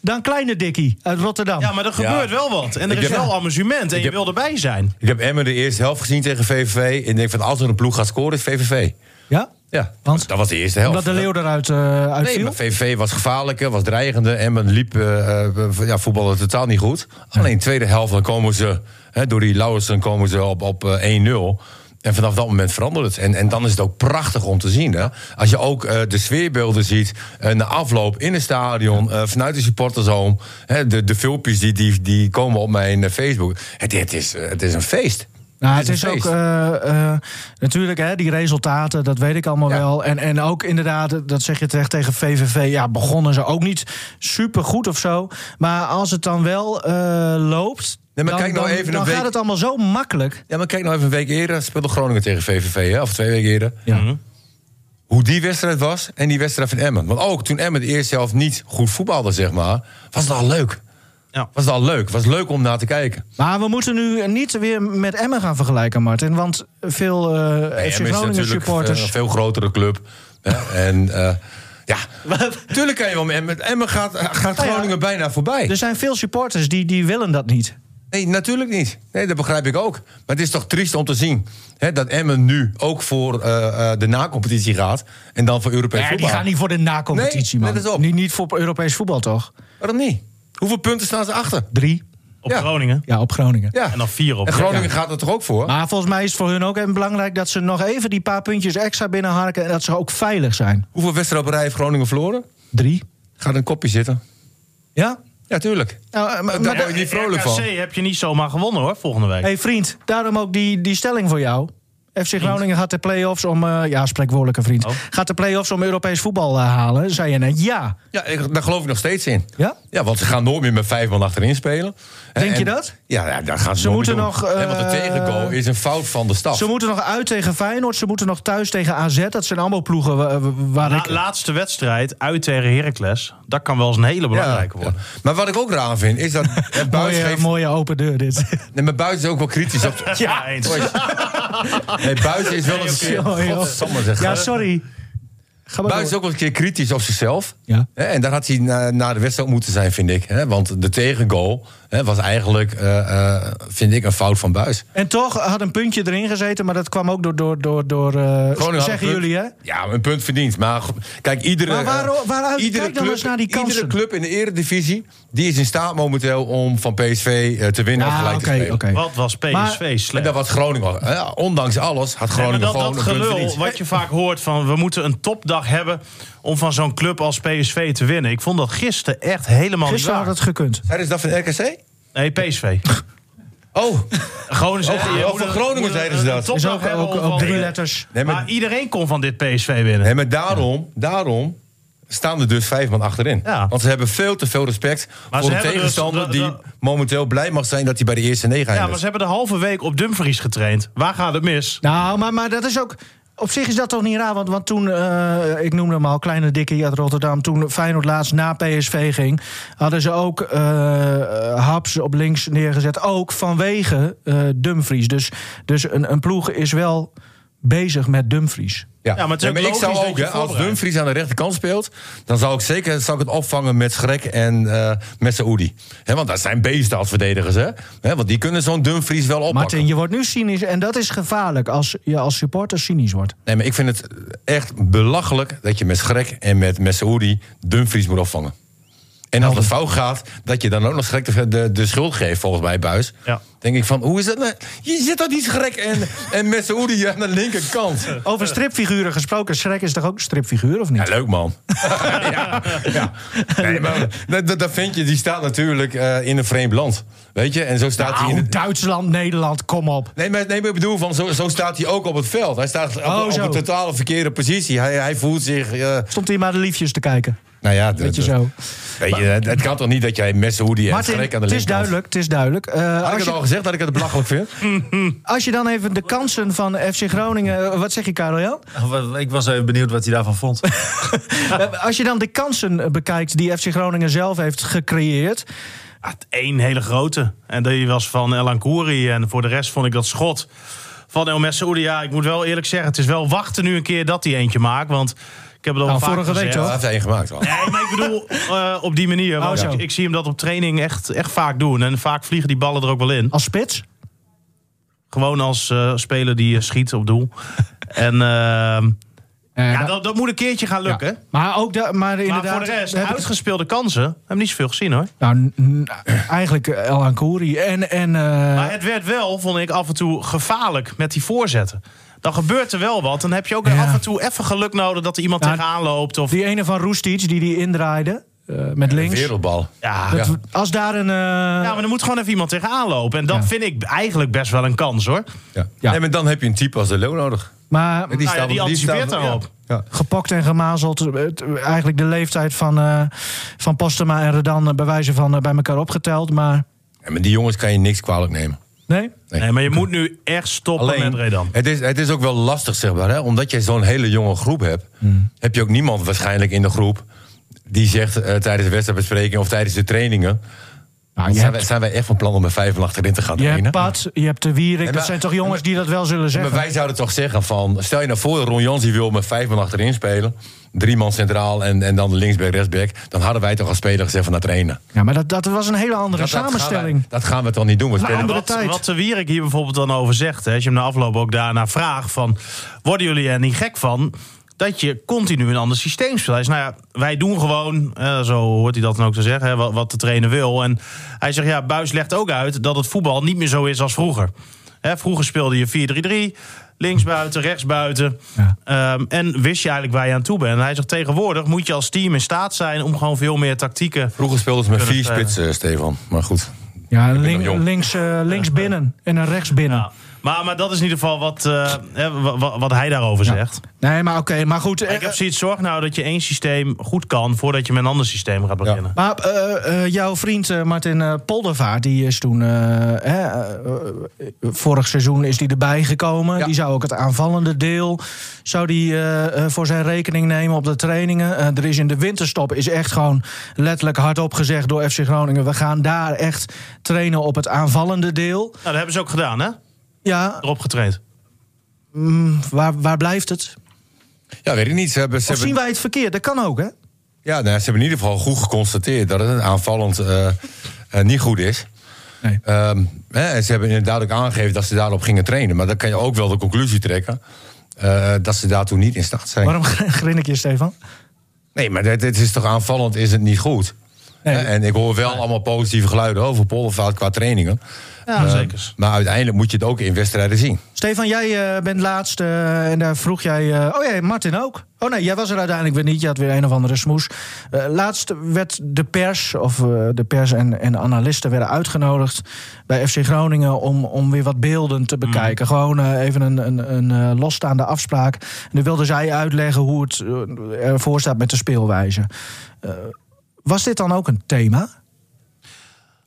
C: dan Kleine Dikkie uit Rotterdam.
D: Ja, maar er
A: Ja.
D: gebeurt wel wat. En er
A: Ik
D: is
A: heb-
D: wel amusement. En je
A: heb-
D: wil erbij zijn.
A: Ik heb Emmen de eerste helft gezien tegen VVV... en ik denk van als er een ploeg gaat scoren, is VVV.
C: Ja?
A: Ja,
C: Want?
A: dat was de eerste helft.
C: Omdat de Leeuw eruit eh
A: Nee,
C: uitviel?
A: maar VVV was gevaarlijker, was dreigender. En men liep eh, eh, ja, voetballen totaal niet goed. Alleen tweede helft, dan komen ze... Hè, door die Lauwersen komen ze op, op eh, 1-0... En vanaf dat moment verandert het. En, en dan is het ook prachtig om te zien. Hè? Als je ook eh, de sfeerbeelden ziet. eh, na afloop in het stadion. eh, vanuit de supporterzoom. Hè, de, de filmpjes die, die, die komen op mijn eh, Facebook. Het, het, is, eh, het is een feest.
C: Nou, het is
A: een
C: ook
A: feest.
C: eh, eh, natuurlijk, hè, die resultaten, dat weet ik allemaal
A: Ja.
C: wel. En, en ook inderdaad, dat zeg je terecht tegen VVV. Ja, begonnen ze ook niet super goed of zo. Maar als het dan wel eh, loopt.
A: Nee, maar
C: dan,
A: kijk nou
C: dan-
A: even een
C: dan
A: week-
C: gaat het allemaal zo makkelijk.
A: Ja, maar kijk nou even een week eerder. Speelde Groningen tegen VVV, hè? of twee weken eerder.
C: Ja.
A: Hoe die wedstrijd was en die wedstrijd van Emmen. Want ook toen Emmen de eerste helft niet goed voetbalde, zeg maar... was het al leuk.
D: Ja.
A: Was het al leuk. Was leuk om naar te kijken.
C: Maar we moeten nu niet weer met Emmen gaan vergelijken, Martin. Want veel eh FC
A: Emmen is
C: Groningen
A: natuurlijk eh, een
C: supporters.
A: veel grotere club. Hè? En eh, ja, tuurlijk kan je wel met Emmen. Emmen gaat, eh, gaat
C: Oh ja. Dus-
A: Groningen bijna voorbij.
C: Er zijn veel supporters die, die willen dat niet.
A: Nee, natuurlijk niet. Nee, dat begrijp ik ook. Maar het is toch triest om te zien hè, dat Emmen nu ook voor eh, eh, de nacompetitie gaat... en dan voor Europees
C: Ja, die
A: voetbal.
C: gaan niet voor de na-competitie,
A: Nee,
C: man.
A: let eens op.
C: Niet, niet voor Europees voetbal, toch?
A: Waarom Oh, niet? Hoeveel punten staan ze achter?
C: Drie.
D: Op
A: Ja.
D: Groningen.
C: Ja, op Groningen.
A: Ja.
D: En dan vier op.
A: En Groningen gaat er toch ook voor?
C: Maar volgens mij is het voor hun ook even belangrijk dat ze nog even die paar puntjes extra binnenharken. En dat ze ook veilig zijn.
A: Hoeveel wedstrijden op rij heeft Groningen verloren?
C: Drie.
A: Gaat een kopje zitten.
C: Ja?
A: Ja, tuurlijk.
C: Nou, eh, maar, maar
A: Daar word
C: da-
A: je niet vrolijk
D: RKC
A: van.
D: heb je niet zomaar gewonnen hoor, volgende week.
C: hey vriend, daarom ook die, die stelling voor jou. FC Groningen gaat de play-offs om. eh, ja, spreekwoordelijke vriend.
D: Oh.
C: Gaat de play-offs om Europees voetbal eh, halen? Zei je net ja.
A: Ja, ik- daar geloof ik nog steeds in.
C: Ja?
A: Ja, want ze gaan nooit meer met vijf man achterin spelen. En-
C: Denk je
A: en-
C: dat?
A: Ja, ja daar gaan ze,
C: Ze
A: nooit
C: moeten
A: doen.
C: nog,
A: Hè, want de
C: eh,
A: tegengoal is een fout van de staf.
C: Ze moeten nog uit tegen Feyenoord. Ze moeten nog thuis tegen AZ. Dat zijn allemaal ploegen wa- wa- waar
D: La-
C: ik.
D: laatste wedstrijd uit tegen Heracles. Dat kan wel eens een hele belangrijke worden.
A: Ja. Maar wat ik ook raar vind, is dat... eh, Buis
C: Mooie,
A: geeft,
C: mooie open deur dit.
A: nee, maar Buis is ook wel kritisch op...
D: Ja, eens.
A: Nee, Buis is wel eens...
C: Nee, oké. Joh, joh.
A: Godsamme, zeg.
C: ja, sorry. Ga maar
A: Buis is
C: door.
A: ook wel eens een keer kritisch op zichzelf.
C: Ja.
A: Hè, En daar had hij na, na de wedstrijd ook moeten zijn, vind ik. hè. Want de tegengoal hè, was eigenlijk, eh, eh, vind ik, een fout van Buis.
C: En toch had een puntje erin gezeten, maar dat kwam ook door. door, door, door eh,
A: Groningen had
C: zeggen
A: een punt.
C: jullie, hè?
A: Ja, een punt verdiend. Maar go- kijk, iedere,
C: Maar waarom-
A: eh,
C: waaruit-
A: iedere
C: kijk dan eens naar die kansen.
A: Iedere club in de eredivisie die is in staat momenteel om van PSV eh, te winnen of
C: Ja,
A: gelijk te
C: Ah, Nou, oké,
A: spelen.
C: oké.
D: Wat was PSV
C: Maar-
D: slecht.
A: En dat was Groningen. hè, ondanks alles had
D: Nee,
A: Groningen
D: maar dat,
A: gewoon
D: dat
A: een punt
D: gelul
A: verdiend.
D: wat je vaak hoort van we moeten een topdag hebben om van zo'n club als PSV te winnen. Ik vond dat gisteren echt helemaal
C: Gisteren
D: niet
C: had
D: waar.
C: het gekund.
A: Hè, is dat van RKC?
D: Nee, PSV.
A: Oh,
D: Gewoon
A: Oh, oh, van Groningen zeiden ze dat.
C: Is ook, ook, ook drie letters.
A: nee,
D: maar,
A: maar,
D: iedereen kon van dit PSV winnen.
A: nee, maar daarom, daarom staan er dus vijf man achterin.
D: Ja.
A: Want ze hebben veel te veel respect
D: Maar
A: voor
D: ze
A: een
D: hebben dus-
A: tegenstander...
D: dat-
A: die
D: dat-
A: momenteel blij mag zijn dat hij bij de eerste negen
D: ja,
A: eindigt.
D: maar ze hebben de halve week op Dumfries getraind. Waar gaat het mis?
C: Nou, maar, maar dat is ook. Op zich is dat toch niet raar, want, want toen, eh, ik noemde hem al, Kleine Dikkie uit Rotterdam... toen Feyenoord laatst na PSV ging, hadden ze ook eh, Haps op links neergezet. Ook vanwege eh, Dumfries. Dus, dus een, een ploeg is wel bezig met Dumfries.
A: Ja,
D: Ja, maar
A: maar,
D: het is ook
A: ik zou
D: logisch dat
A: ook,
D: je
A: hè, als
D: voorbereidt.
A: Dumfries aan de rechterkant speelt, dan zou ik zeker zou ik het opvangen met Schrek en eh met Saoedi. Hè, want dat zijn beesten als verdedigers, hè? Hè, want die kunnen zo'n Dumfries wel oppakken.
C: Martin, je wordt nu cynisch en dat is gevaarlijk als je als supporter cynisch wordt.
A: Nee, maar ik vind het echt belachelijk dat je met Schrek en met, met Saoedi Dumfries moet opvangen. En als het fout gaat, dat je dan ook nog gek de, de, de schuld geeft, volgens mij, Buis.
D: Ja.
A: Denk ik van, hoe is dat nou? Je zit dat niet gek en, en met Saoedi aan de linkerkant.
C: Over stripfiguren gesproken. Shrek is toch ook een stripfiguur, of niet?
A: Ja, leuk man. ja, ja. Nee, maar dat, dat- dat vind je, die staat natuurlijk eh, in een vreemd land. Weet je, en zo staat hij in
C: Nou,
A: het-
C: Duitsland, Nederland, kom op.
A: Nee, maar, nee, maar ik bedoel, van, zo, zo staat hij ook op het veld. Hij staat op-
C: Oh,
A: op,
C: zo.
A: een totale verkeerde positie. Hij, hij voelt zich... eh,
C: Stond hier maar de liefjes te kijken.
A: nou ja,
C: Weet je zo.
A: Weet je, het, het kan toch niet dat jij Messehoedie en
C: Martin,
A: Schrek aan de
C: het is
A: linkerkant...
C: duidelijk, het is duidelijk. Eh,
A: Had ik
C: als,
A: het
C: je,
A: al gezegd dat ik het belachelijk vind?
C: als je dan even de kansen van FC Groningen... Eh, Wat zeg je, Karel-Jan?
E: Ik was even benieuwd wat hij daarvan vond.
C: Eh, Als je dan de kansen eh, bekijkt die FC Groningen zelf heeft gecreëerd...
D: Ja, één hele grote. En die was van El Ankouri. En voor de rest vond ik dat schot van El Messaoudi. Ja, ik moet wel eerlijk zeggen, het is wel wachten nu een keer dat hij eentje maakt. Want ik heb het al
C: Nou,
D: vaak
C: vorige week
D: gezegd.
A: Ja, dat heeft hij één gemaakt al.
D: Nee, maar ik bedoel eh, op die manier. Want
C: Oh, zo.
D: ik, ik zie hem dat op training echt, echt vaak doen. En vaak vliegen die ballen er ook wel in.
C: Als spits?
D: Gewoon als eh, speler die eh, schiet op doel. En ehm,
C: Eh,
D: ja,
C: nou,
D: dat, dat moet een keertje gaan lukken.
C: ja. Maar ook da- maar
D: Maar
C: inderdaad...
D: voor de rest,
C: we hebben-
D: uitgespeelde kansen. We hebben niet zoveel gezien hoor.
C: Nou, n- n- eigenlijk eh, El Ankouri en... en eh,
D: Maar het werd wel, vond ik, af en toe gevaarlijk met die voorzetten. Dan gebeurt er wel wat. Dan heb je ook
C: Ja.
D: af en toe even geluk nodig dat er iemand
C: Ja,
D: tegenaan loopt. Of,
C: die ene van Roestic, die die indraaide eh, met links.
A: Wereldbal.
D: ja,
C: Dat
A: Ja.
C: we- Als daar een... eh,
D: ja, maar er moet gewoon even iemand tegenaan lopen. En dat
C: Ja.
D: vind ik eigenlijk best wel een kans hoor.
A: Ja.
C: Ja.
A: Nee, maar dan heb je een type als de Leeuw nodig.
C: maar,
A: Die,
D: ja, die anticipeert
A: staat-
D: daarop.
A: Ja. Ja.
C: gepakt en gemazeld. Het- Eigenlijk de leeftijd van, eh van Postema en Redan eh, bij wijze van eh, bij elkaar opgeteld. Maar
A: Ja, maar die jongens kan je niks kwalijk nemen.
C: nee,
D: Nee, maar je moet nu echt stoppen met Redan.
A: het is, het is ook wel lastig, zeg maar. Hè? Omdat jij zo'n hele jonge groep hebt...
C: Hmm.
A: heb je ook niemand waarschijnlijk in de groep... die zegt eh, tijdens de wedstrijdbespreking of tijdens de trainingen...
C: Ah, je
A: zijn,
C: hebt-
A: wij, zijn wij echt van plan om met vijf van achterin te gaan
C: je hebt
A: trainen?
C: Pat, je hebt de Wierik.
A: maar-
C: dat zijn toch jongens die dat wel zullen
A: Maar
C: zeggen.
A: wij zouden toch zeggen van... stel je nou voor, Ron Jans die wil met vijf man achterin spelen... drie man centraal en, en dan de linksback, rechtsback... dan hadden wij toch als speler gezegd van naar trainen.
C: Ja, maar dat, dat was een hele andere
A: Dat- dat gaan wij-
C: samenstelling.
A: Dat gaan we toch niet doen? We spelen-
D: En
C: andere
D: wat,
C: tijd.
D: wat de Wierik hier bijvoorbeeld dan over zegt, hè, als je hem na afloop ook daarna vraagt van, worden jullie er niet gek van dat je continu een ander systeem speelt? Hij zegt, nou ja, wij doen gewoon, eh, zo hoort hij dat dan ook te zeggen, hè, wat, wat de trainer wil. En hij zegt, ja, Buis legt ook uit dat het voetbal niet meer zo is als vroeger. Hè, vroeger speelde je 4-3-3, linksbuiten, rechtsbuiten.
C: Ja.
D: Ehm, en wist je eigenlijk waar je aan toe bent. En hij zegt, tegenwoordig moet je als team in staat zijn om gewoon veel meer tactieken
A: Vroeger speelden ze met
D: Kunnen
A: vier
D: spelen.
A: spitsen, Stefan. Maar goed.
C: Ja,
A: ben
C: link-
A: nog jong.
C: links, eh, links binnen en een rechts binnen.
D: Ja. Maar, maar dat is in ieder geval wat, eh, hè, wa- wa- wat hij daarover zegt.
C: Nee, maar oké, maar goed. eh,
D: Ik heb zoiets, zorg nou dat je één systeem goed kan... voordat je met een ander systeem gaat beginnen.
C: Maar eh, eh, jouw vriend eh, Martin eh, Poldervaart, die is toen. eh, hè, eh, vorig seizoen is die erbij gekomen.
A: Ja.
C: Die zou ook het aanvallende deel zou die, eh, eh, voor zijn rekening nemen op de trainingen. Eh, er is in de winterstop is echt gewoon letterlijk hardop gezegd door FC Groningen. We gaan daar echt trainen op het aanvallende deel.
D: Nou, dat hebben ze ook gedaan, hè?
C: Ja,
D: Erop getraind.
C: mm, waar, waar blijft het?
A: Ja, weet ik niet. Ze hebben, ze
C: Of
A: hebben,
C: zien wij het verkeerd? Dat kan ook, hè?
A: ja, nou, ze hebben in ieder geval goed geconstateerd dat het aanvallend eh, eh, niet goed is.
C: Nee.
A: Ehm, hè, en ze hebben inderdaad ook aangegeven dat ze daarop gingen trainen. Maar dan kan je ook wel de conclusie trekken eh, dat ze daartoe niet in staat zijn.
C: Waarom grin ik je, Stefan?
A: Nee, maar dit, dit is toch aanvallend, is het niet goed?
C: Nee.
A: Hè, en ik hoor wel allemaal positieve geluiden over Poldervaart qua trainingen.
D: Ja, zeker.
A: Maar uiteindelijk moet je het ook in wedstrijden zien.
C: Stefan, jij eh, bent laatst eh, en daar vroeg jij... eh, oh ja, Martin ook. Oh nee, jij was er uiteindelijk weer niet. Je had weer een of andere smoes. Eh, laatst werd de pers, of eh, de pers en, en analisten werden uitgenodigd... bij FC Groningen om, om weer wat beelden te bekijken. Gewoon eh, even een, een, een eh, losstaande afspraak. En dan wilden zij uitleggen hoe het eh, ervoor staat met de speelwijze. Eh, was dit dan ook een thema?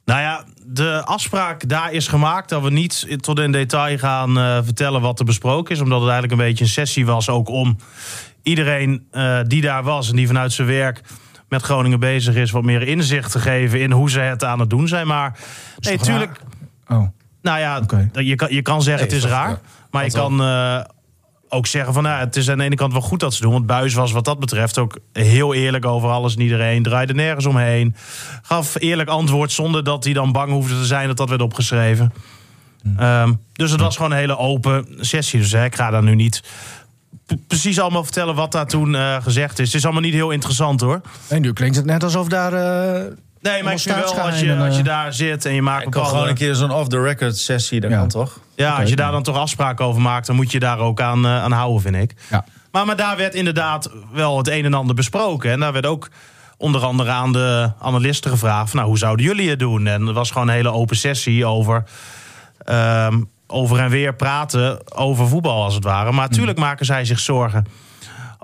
D: Nou ja, de afspraak daar is gemaakt... dat we niet in- tot in detail gaan eh, vertellen wat er besproken is. Omdat het eigenlijk een beetje een sessie was ook om... iedereen eh, die daar was en die vanuit zijn werk met Groningen bezig is... wat meer inzicht te geven in hoe ze het aan het doen zijn. Maar nee,
C: toch
D: tuurlijk...
C: Oh,
D: Nou ja,
C: Oké.
D: dat- je, kan, je kan zeggen
A: Nee,
D: het is
A: dat-
D: raar.
A: ja,
D: maar je kan eh, ook zeggen van nou, het is aan de ene kant wel goed dat ze doen. Want Buis was wat dat betreft ook heel eerlijk over alles en iedereen. Draaide nergens omheen. Gaf eerlijk antwoord zonder dat hij dan bang hoefde te zijn dat dat werd
E: Hm.
D: opgeschreven. Ehm, dus het was gewoon een hele open sessie. Dus hè, ik ga daar nu niet p- precies allemaal vertellen wat daar toen eh, gezegd is. Het is allemaal niet heel interessant hoor.
C: En nu klinkt het net alsof daar... eh,
D: Nee, maar ik vind wel, als je,
C: staatsgeheimen,
D: als je
C: eh,
D: daar zit en je maakt
E: Ik kan
D: bepaalde...
E: gewoon een keer zo'n off-the-record sessie, dat
C: Ja.
E: kan toch?
D: Ja, als je daar dan toch afspraken over maakt, dan moet je daar ook aan, eh, aan houden, vind ik.
C: Ja.
D: Maar, maar daar werd inderdaad wel het een en ander besproken. En daar werd ook onder andere aan de analisten gevraagd: van, nou, hoe zouden jullie het doen? En er was gewoon een hele open sessie over. ehm, over en weer praten over voetbal, als het ware. Maar natuurlijk maken zij zich zorgen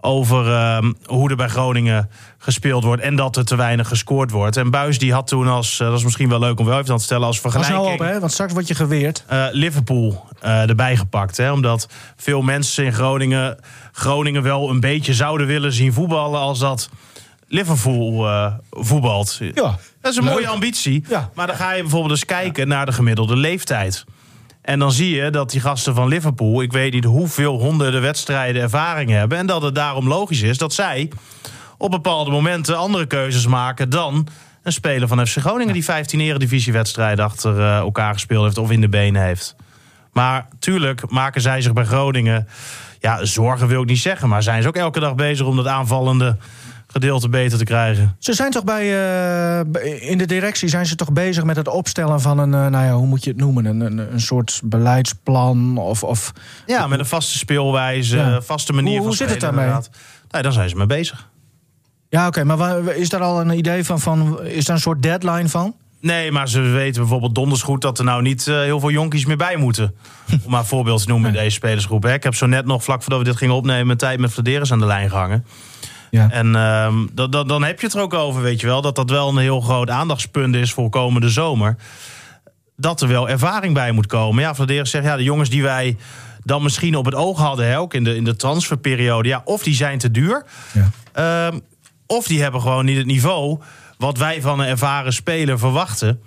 D: over ehm, hoe er bij Groningen gespeeld wordt... en dat er te weinig gescoord wordt. En Buis die had toen als... eh, dat is misschien wel leuk om wel even aan te stellen... als
C: Pas
D: vergelijking...
C: nou op, hè, want straks word je geweerd.
D: eh, Liverpool eh, erbij gepakt. Hè? Omdat veel mensen in Groningen Groningen wel een beetje zouden willen zien voetballen als dat Liverpool eh, voetbalt.
C: Ja.
D: Dat is een mooie ambitie.
C: Ja.
D: Maar dan ga je bijvoorbeeld eens kijken naar de gemiddelde leeftijd. En dan zie je dat die gasten van Liverpool, ik weet niet hoeveel honderden wedstrijden ervaring hebben. En dat het daarom logisch is dat zij op bepaalde momenten andere keuzes maken dan een speler van FC Groningen die 15 eredivisiewedstrijden achter eh, elkaar gespeeld heeft of in de benen heeft. Maar tuurlijk maken zij zich bij Groningen, ja, zorgen wil ik niet zeggen, maar zijn ze ook elke dag bezig om dat aanvallende gedeelte beter te krijgen.
C: Ze zijn toch bij, eh, bij- in de directie zijn ze toch bezig met het opstellen van een, eh, nou ja, hoe moet je het noemen, een, een, een soort beleidsplan of, of
D: Ja, met een vaste speelwijze,
C: Ja.
D: vaste manier
C: Hoe-
D: van
C: hoe zit het
D: spelen,
C: daarmee?
D: inderdaad. Nee, dan zijn ze mee bezig.
C: ja, oké, maar waar- is daar al een idee van, van? Is daar een soort deadline van?
D: Nee, maar ze weten bijvoorbeeld donders goed dat er nou niet eh, heel veel jonkies meer bij moeten. Om maar een voorbeeld te noemen in deze spelersgroep. Hè. Ik heb zo net nog, vlak voordat we dit gingen opnemen, een tijd met Vladeris aan de lijn gehangen.
C: Ja.
D: En ehm, dat, dat, dan heb je het er ook over, weet je wel. Dat dat wel een heel groot aandachtspunt is voor komende zomer. Dat er wel ervaring bij moet komen. Ja, Vladeris zegt, ja, de jongens die wij dan misschien op het oog hadden, hè, ook in de, in de transferperiode. Ja, of die zijn te duur.
C: Ja.
D: Ehm, of die hebben gewoon niet het niveau wat wij van een ervaren speler verwachten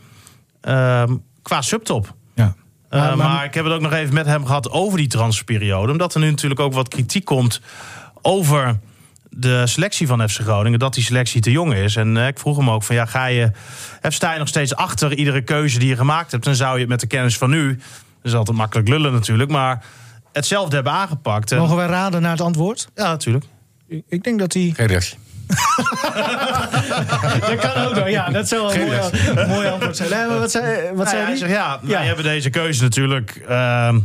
D: ehm, qua subtop.
C: ja.
D: Eh,
C: Maar-
D: maar,
C: maar-
D: ik heb het ook nog even met hem gehad over die transferperiode. Omdat er nu natuurlijk ook wat kritiek komt over de selectie van FC Groningen. Dat die selectie te jong is. En eh, ik vroeg hem ook van ja, ga je, eh, sta je nog steeds achter iedere keuze die je gemaakt hebt? Dan zou je het met de kennis van nu, dat is altijd makkelijk lullen natuurlijk, maar hetzelfde hebben aangepakt. En-
C: Mogen wij raden naar het antwoord?
D: ja, natuurlijk.
C: Ik- Ik denk dat die.
A: Geen reactie.
C: Dat kan ook wel. Ja, dat zou wel een mooi, mooi antwoord zijn. Nee, maar wat zei, wat
D: Nou
C: zei
D: ja, hij
C: die?
D: zegt, ja,
C: Ja.
D: wij hebben deze keuze natuurlijk ehm,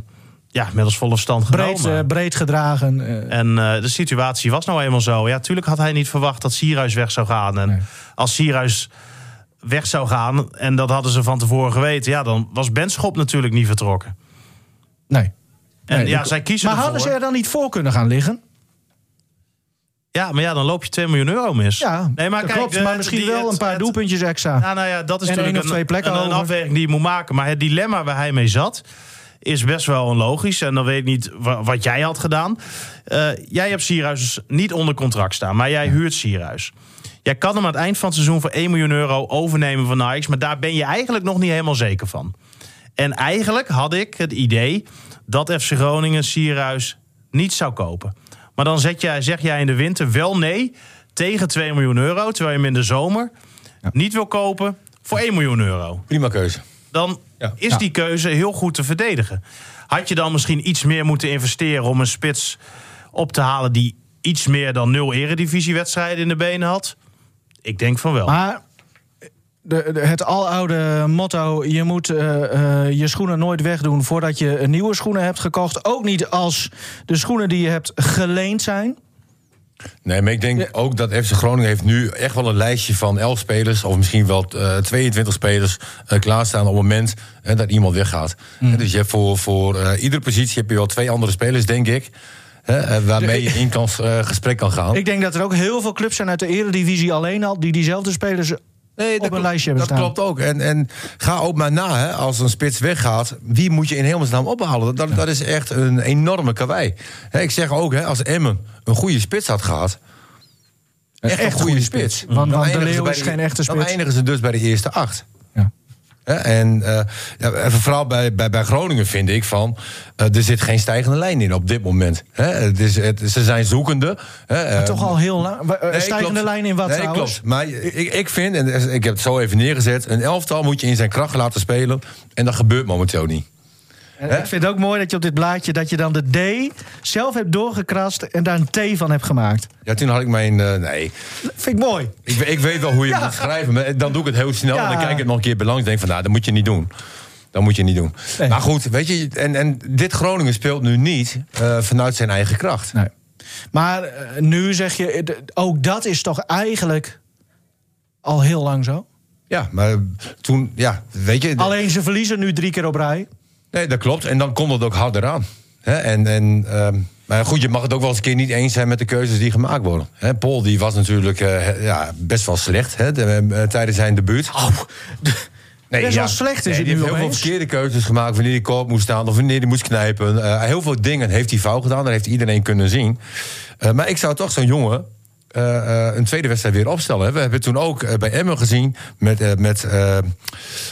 D: ja, met als volle stand
C: breed,
D: genomen.
C: eh, breed gedragen. eh,
D: En eh, de situatie was nou eenmaal zo. Ja, tuurlijk had hij niet verwacht dat Sierhuis weg zou gaan. En als Sierhuis weg zou gaan, en dat hadden ze van tevoren geweten... ja, dan was Benschop natuurlijk niet vertrokken.
C: nee.
D: En
C: Nee,
D: ja,
C: die-
D: zij kiezen
C: Maar hadden ze
D: ervoor.
C: er dan niet voor kunnen gaan liggen?
D: Ja, maar ja, dan loop je 2 miljoen euro mis.
C: Ja,
D: nee, maar
C: dat
D: kijk,
C: klopt.
D: de-
C: maar misschien
D: die-
C: wel
D: het-
C: een paar
D: het-
C: doelpuntjes extra.
D: Ja, nou ja, dat is
C: En
D: natuurlijk
C: één of
D: een-
C: twee plekken
D: een, een
C: over.
D: afweging die je moet maken. Maar het dilemma waar hij mee zat, is best wel onlogisch. En dan weet ik niet wa- wat jij had gedaan. Eh, jij hebt Sierhuis niet onder contract staan, maar jij huurt Sierhuis. Jij kan hem aan het eind van het seizoen voor 1 miljoen euro overnemen van Ajax. Maar daar ben je eigenlijk nog niet helemaal zeker van. En eigenlijk had ik het idee dat FC Groningen Sierhuis niet zou kopen. Maar dan zet jij, zeg jij in de winter wel nee tegen 2 miljoen euro. Terwijl je hem in de zomer niet wil kopen voor 1 miljoen euro.
A: Prima keuze.
D: Dan
A: Ja.
D: is die keuze heel goed te verdedigen. Had je dan misschien iets meer moeten investeren om een spits op te halen die iets meer dan nul eredivisiewedstrijden in de benen had? Ik denk van wel.
C: Maar de, de- het aloude motto: je moet eh, eh, je schoenen nooit wegdoen voordat je nieuwe schoenen hebt gekocht. Ook niet als de schoenen die je hebt geleend zijn.
A: Nee, maar ik denk ook dat FC Groningen heeft nu echt wel een lijstje van 11 spelers... of misschien wel eh, 22 spelers eh, klaarstaan op het moment eh, dat iemand weggaat.
C: Mm.
A: Eh, Dus je hebt voor, voor eh, iedere positie heb je wel twee andere spelers, denk ik... eh, eh, waarmee je in kan, eh, gesprek kan gaan.
C: Ik denk dat er ook heel veel clubs zijn uit de Eredivisie alleen al die diezelfde spelers op een
A: klopt-
C: lijstje hebben
A: dat
C: staan.
A: klopt ook. En, en ga ook maar na, hè, als een spits weggaat... wie moet je in hemelsnaam ophalen? Dat, dat is echt een enorme kawaii. Hè, ik zeg ook, hè, als Emmen een goede spits had gehad... Echt, een goede, spits.
C: Want- want
A: Dan
C: De
A: eindigen ze
C: Leeuw
A: bij
C: is
A: de-
C: geen echte
A: Dan
C: spits.
A: eindigen ze dus bij de eerste acht.
C: Ja.
A: Hè, en eh, ja, en vooral bij, bij, bij Groningen vind ik van... eh, er zit geen stijgende lijn in op dit moment. Hè, het is, het, ze zijn zoekende. Hè, eh,
C: Toch al heel lang. Wa- eh,
A: Nee,
C: stijgende
A: klopt.
C: lijn in wat
A: nee,
C: trouwens?
A: klopt. Maar ik, ik vind, en ik heb het zo even neergezet... een elftal moet je in zijn kracht laten spelen. En dat gebeurt momenteel niet.
C: En
A: Hè?
C: Ik vind het ook mooi dat je op dit blaadje dat je dan de D zelf hebt doorgekrast en daar een T van hebt gemaakt.
A: Ja, toen had ik mijn... eh, nee,
C: Vind ik mooi.
A: ik, we- ik weet wel hoe je
C: Ja.
A: moet schrijven. Maar dan doe ik het heel snel en dan
C: Ja.
A: kijk ik het nog een keer belangrijk. denk van, nou, dat moet je niet doen. Dat moet je niet doen.
C: Nee.
A: Maar goed, weet je, en, en dit Groningen speelt nu niet eh, vanuit zijn eigen kracht.
C: Nee. Maar eh, nu zeg je, eh, d- ook dat is toch eigenlijk al heel lang zo?
A: Ja, maar toen, ja, weet je...
C: Alleen ze verliezen nu drie keer op rij.
A: Nee, dat klopt. En dan komt het ook harder aan. Hè, en, en, ehm, maar goed, je mag het ook wel eens een keer niet eens zijn met de keuzes die gemaakt worden. Hè, Paul die was natuurlijk eh, ja, best wel slecht hè, de- eh, tijdens zijn debuut.
C: Nou,
A: Nee,
C: Best wel slecht
A: Nee,
C: is het
A: die
C: nu
A: heeft heel veel
C: opeens.
A: verkeerde keuzes gemaakt. Wanneer hij koop moest staan of wanneer hij moest knijpen. Eh, heel veel dingen heeft hij fout gedaan. Dat heeft iedereen kunnen zien. Eh, maar ik zou toch zo'n jongen eh, eh, een tweede wedstrijd weer opstellen. hè. We hebben toen ook eh, bij Emmen gezien met, eh, met eh,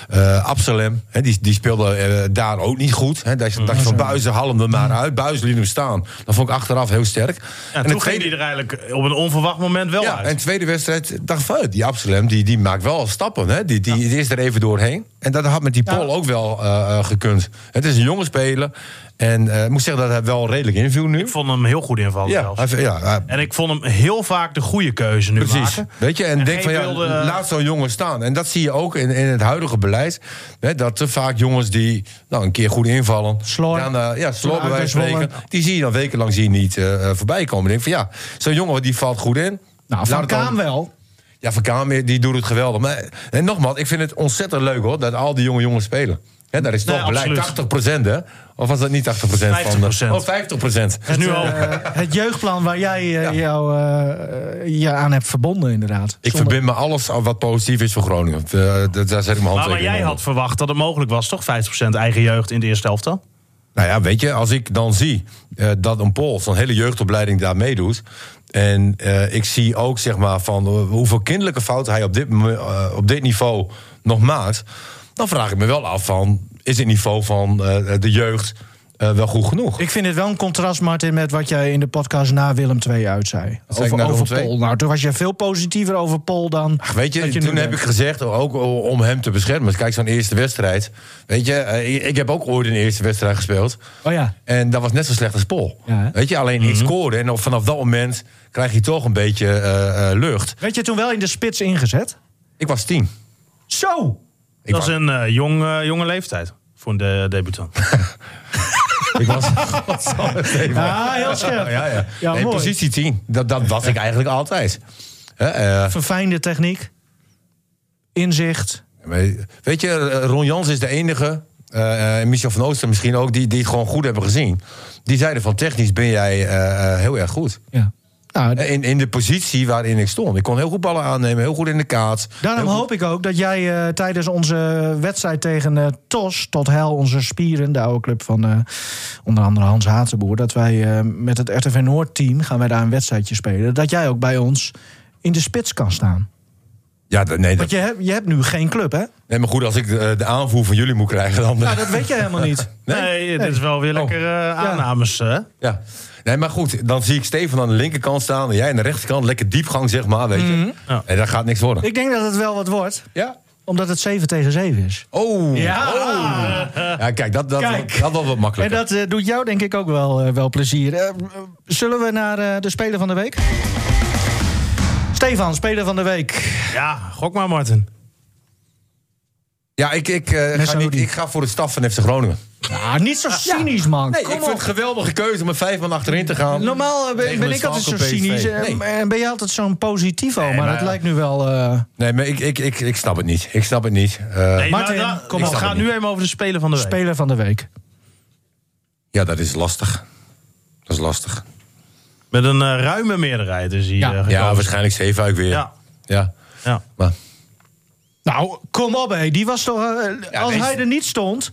A: eh, Absalem. Hè, die, die speelde eh, daar ook niet goed. Hè. Dat je
D: Mm.
A: dat je van Buizen halm er maar uit. Buizen liet hem staan. Dat vond ik achteraf heel sterk.
D: Ja,
A: En
D: toen
A: het
D: ging
A: tweede-
D: hij er eigenlijk op een onverwacht moment wel
A: ja,
D: uit.
A: en tweede wedstrijd dacht van, die Absalem die, die maakt wel stappen. Hè? Die, die, die is er even doorheen. En dat had met die Paul ook wel eh, eh, gekund. Het is een jonge speler. En eh, ik moet zeggen dat hij wel redelijk inviel nu.
D: Ik vond hem heel goed invallen
A: Ja,
D: zelfs.
A: hij, ja hij-
D: En ik vond hem heel vaak de goede keuze nu
A: precies.
D: maken.
A: Weet je, en,
D: En
A: denk van
D: geen
A: ja,
D: wilde-
A: laat zo'n jongen staan. En dat zie je ook in, in het huidige beleid. Hè, dat te vaak jongens die nou, een keer goed invallen.
C: Slor.
A: Dan, eh, ja, slor
C: Ja,
A: bij wijze van
C: uitgezwollen.
A: spreken. Die zie je dan wekenlang zie je niet eh, eh, voorbij komen. Ik denk van ja, zo'n jongen die valt goed in.
C: Nou,
A: Laat
C: van
A: het dan-
C: Kaam wel.
A: ja, Van Kamer, die doet het geweldig. Maar, en nogmaals, ik vind het ontzettend leuk hoor, dat al die jonge jongens spelen. Hè, daar is toch
D: Nee,
A: beleid
D: absoluut.
A: 80% hè? Of was dat niet 80% van de...
D: 50%.
A: Oh, 50%.
D: Het is nu al...
C: Eh, het jeugdplan waar jij eh,
A: Ja.
C: jou eh, eh, je aan hebt verbonden, inderdaad.
A: Ik
C: Zonder-
A: verbind me alles aan wat positief is voor Groningen. Eh, dat- daar zet ik mijn
D: maar, maar
A: handtekening
D: jij
A: onder.
D: had verwacht dat het mogelijk was, toch? 50% eigen jeugd in de eerste helft dan?
A: Nou ja, weet je, als ik dan zie eh, dat een Pool zo'n hele jeugdopleiding daar meedoet. En eh, ik zie ook zeg maar van eh, hoeveel kinderlijke fouten hij op dit, mo- eh, op dit niveau nog maakt. Dan vraag ik me wel af van, is het niveau van eh, de jeugd eh, wel goed genoeg?
C: Ik vind het wel een contrast, Martin, met wat jij in de podcast na Willem II uit zei.
A: zei ik
C: over
A: na Willem
C: over
A: II?
C: Pol. Nou, toen was jij veel positiever over Pol dan.
A: Ach, weet je,
C: dat
A: toen
C: nu
A: heb ik
C: bent.
A: gezegd, eh, ook om hem te beschermen. Dus Kijk, zo'n eerste wedstrijd. Weet je, eh, ik- ik heb ook ooit een eerste wedstrijd gespeeld.
C: Oh ja.
A: En dat was net zo slecht als Pol.
C: Ja, hè? Mhm.
A: weet je, alleen ik scoorde. En vanaf dat moment krijg je toch een beetje eh, eh, lucht.
C: Werd je toen wel in de spits ingezet?
A: Ik was tien.
C: Zo!
A: Ik
D: dat is
A: was,
D: een eh, jong, eh, jonge leeftijd voor de debutant.
A: ik was Godsamme, Steven.
C: Ah, heel scherp.
A: Ja, ja.
C: Ja,
A: nee,
C: mooi.
A: positie 10. Dat, dat was ik eigenlijk altijd. Hè, eh,
C: Verfijnde techniek. Inzicht.
A: weet je, eh, Ron Jans is de enige, eh, eh, Michel van Ooster misschien ook, die, die het gewoon goed hebben gezien. Die zeiden van technisch ben jij eh, eh, heel erg goed.
C: Ja. Nou, d-
A: In, in de positie waarin ik stond. Ik kon heel goed ballen aannemen, heel goed in de kaart.
C: daarom
A: Heel goed-
C: hoop ik ook dat jij eh, tijdens onze wedstrijd tegen eh, TOS, tot hel onze spieren, de oude club van eh, onder andere Hans Hatenboer, dat wij eh, met het RTV Noord-team gaan wij daar een wedstrijdje spelen. Dat jij ook bij ons in de spits kan staan.
A: Ja, d- nee, dat,
C: Want je, hebt- je hebt nu geen club, hè?
A: nee, maar goed, als ik eh, de, de aanvoer van jullie moet krijgen, dan...
C: Nou, dat weet jij helemaal niet.
D: Nee, dit is wel weer lekker eh, aannames. hè?
A: Ja. Nee, maar goed, dan zie ik Steven aan de linkerkant staan... en jij aan de rechterkant, lekker diepgang, zeg maar, weet je.
D: Ja.
A: En dat gaat niks worden.
C: Ik denk dat het wel wat wordt,
A: Ja?
C: omdat het 7 tegen 7 is.
A: Oh!
C: Ja.
A: Oh. ja kijk, dat, dat,
C: Kijk.
A: dat was wat
C: En
A: makkelijker.
C: dat eh, doet jou denk ik ook wel, eh, wel plezier. Eh, zullen we naar eh, de Speler van de Week? Stefan, Speler van de Week.
D: Ja, gok maar, Martin.
A: Ja, ik, ik, eh, ga
C: Messaoudi.
A: niet, ik ga voor de staf van FC Groningen.
C: Ah, niet zo cynisch, man.
A: Nee,
C: Kom
A: ik vind het
C: op.
A: een geweldige keuze om met vijf man achterin te gaan.
C: Normaal eh, ben,
A: Tegen
C: ben
A: een
C: ik altijd zo
A: zwakke PSV.
C: cynisch. eh,
A: Nee.
C: En ben je altijd zo'n positivo. maar,
A: maar-
C: dat lijkt nu wel... eh,
A: Nee, maar ik, ik, ik, ik snap het niet. Ik snap het niet. Eh,
D: Nee,
C: Martin,
D: nou,
C: kom
D: ik
A: op.
D: ga nu even over de spelen van de week.
C: Speler van de Week.
A: Ja, dat is lastig. Dat is lastig.
D: Met een eh, ruime meerderheid is hij
C: Ja.
D: eh, gekozen.
A: Ja, waarschijnlijk Zeefuik weer.
D: Ja.
A: ja.
D: Ja.
A: Maar
C: Nou, kom op, hé. Die was toch... eh,
A: Ja,
C: als
A: nee,
C: hij
A: ze-
C: er niet stond...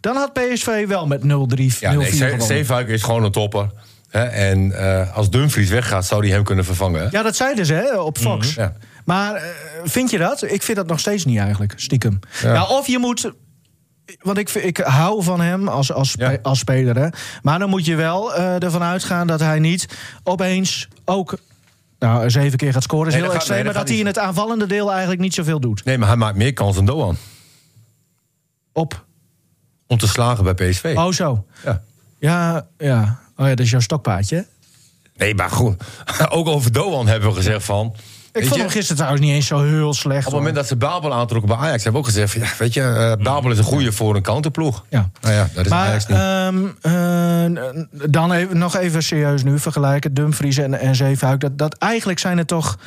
C: Dan had PSV wel met 0-3, 0-4
A: Ja, nee, Ze-
C: gewonnen.
A: Zeefuik is gewoon een topper. Hè? En eh, als Dumfries weggaat, zou die hem kunnen vervangen. hè?
C: Ja, dat zeiden ze hè, op Fox.
A: Mhm. Ja.
C: Maar eh, vind je dat? Ik vind dat nog steeds niet eigenlijk, stiekem. Ja. of je moet... Want ik, ik hou van hem als, als, spe-
A: Ja.
C: als speler. Hè. Maar dan moet je wel eh, ervan uitgaan dat hij niet opeens ook... Nou, zeven keer gaat scoren is
A: Nee,
C: heel
A: dat gaat-
C: extreem.
A: nee, dat
C: maar dat hij
A: gaat
C: in het aanvallende deel eigenlijk niet zoveel doet.
A: Nee, maar hij maakt meer kans dan Doan.
C: Op
A: om te slagen bij PSV.
C: Oh, zo.
A: Ja.
C: Ja, ja. Oh ja, dat is jouw stokpaardje. hè?
A: Nee, maar goed. Ook over Doan hebben we gezegd van...
C: Ik
A: weet
C: vond
A: je,
C: hem gisteren trouwens niet eens zo heel slecht.
A: Op het moment dat ze Babel aantrokken bij Ajax... hebben we ook gezegd, van, ja, weet je, eh, Babel is een goede voor een counterploeg.
C: Mm. Ja.
A: Nou ja, dat is
C: maar
A: Ajax niet.
C: ehm, eh, dan even, nog even serieus nu vergelijken. Dumfries en, en Zeefuik. Dat, dat eigenlijk zijn het toch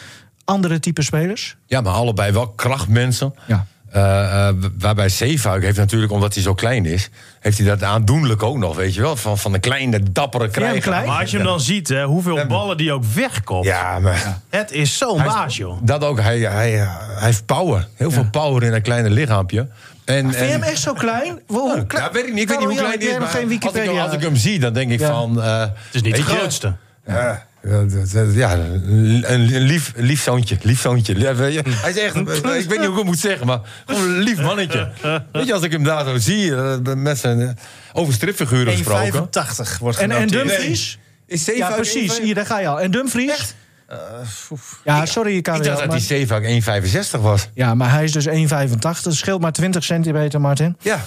C: andere type spelers.
A: Ja, maar allebei wel krachtmensen.
C: Ja.
A: Eh, eh, waarbij Zeefuik heeft natuurlijk, omdat hij zo klein is... heeft hij dat aandoenlijk ook nog, weet je wel? Van, van de kleine, dappere krijger.
C: klein?
D: Maar als je hem dan ziet, hè, hoeveel ballen die ook wegkomt.
A: Ja, maar...
D: Het is zo'n
A: Hij-
D: baas, joh.
A: Dat ook, hij, hij, hij heeft power. Heel veel power in een kleine lichaampje. En,
C: Vind je
A: en-
C: hem echt zo klein? Wow, hoe klein?
A: Ja, weet ik niet. Ik weet niet hoe
C: Waarom,
A: klein
C: ja,
A: die
C: jij
A: is. Maar
C: hebt nog geen
A: als, ik,
C: Wikipedia.
A: als ik hem zie, dan denk ik
C: Ja.
A: van... eh,
D: Het is niet de
A: weet je,
D: grootste.
A: Ja, ja, dat- dat- ja, een een lief, lief zoontje. Lief zoontje. Ja, weet je, Hij is echt, ik weet niet hoe ik het moet zeggen, maar gewoon een lief mannetje. Weet je, als ik hem daar zo zie, eh, met zijn eh, over stripfiguren gesproken.
E: 1,85 wordt
C: En, en
E: genoteerd.
C: Dumfries?
A: Is
C: Ja, precies. Hier, daar ga je al. En Dumfries? Ja, sorry,
A: Eh, Ik dacht
C: Karel.
A: dat die
C: Maar,
A: Zeefuik 1,65 was.
C: ja, maar hij is dus 1,85. Dat scheelt maar 20 centimeter, Martin.
A: Ja.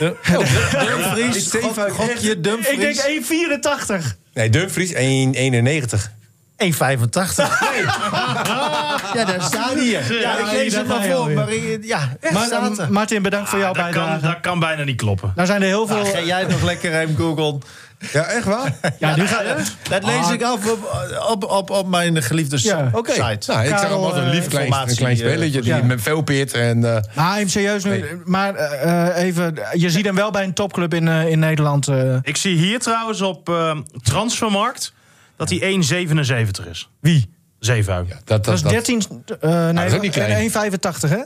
A: Oh,
E: Dumfries, Gok- gokje
C: Ik denk
E: Dumfries.
C: 1,84.
A: Nee, Dumfries 1,91. Nee,
E: 1,85. Ja, daar staat hier. Ja,
D: Ja,
E: ik lees
C: daar
E: hem
C: ga
E: maar
C: je
E: voor.
C: alweer.
E: Maar ik- ja, echt
C: Maar,
E: staat
C: eh,
E: er.
C: Martin, bedankt
A: Ah,
C: voor jouw
D: dat, kan,
C: bijdrage.
D: dat kan bijna niet kloppen.
C: Nou zijn er heel veel...
E: Ga jij het nog lekker ruim googlen?
A: Ja, echt waar?
C: Ja, nu ga-
E: Dat lees
C: Ah.
E: ik af op, op, op, op mijn geliefde s-
C: Ja,
A: Oké.
E: site.
A: Nou, ik zag hem
C: Karel,
A: als een
C: eh,
A: lief klein, een klein
E: informatie, eh,
A: spelletje die
C: ja.
A: met veel peert en... eh,
C: Maar Ah, even serieus nu. Maar eh, eh, even, je ziet hem wel bij een topclub in, eh, in Nederland. eh.
D: Ik zie hier trouwens op eh, Transfermarkt dat hij 1,77 is.
C: wie?
D: Zeefuik.
A: dat,
C: Dat is 13. eh, nee,
A: is ook niet klein.
C: 1,85 hè?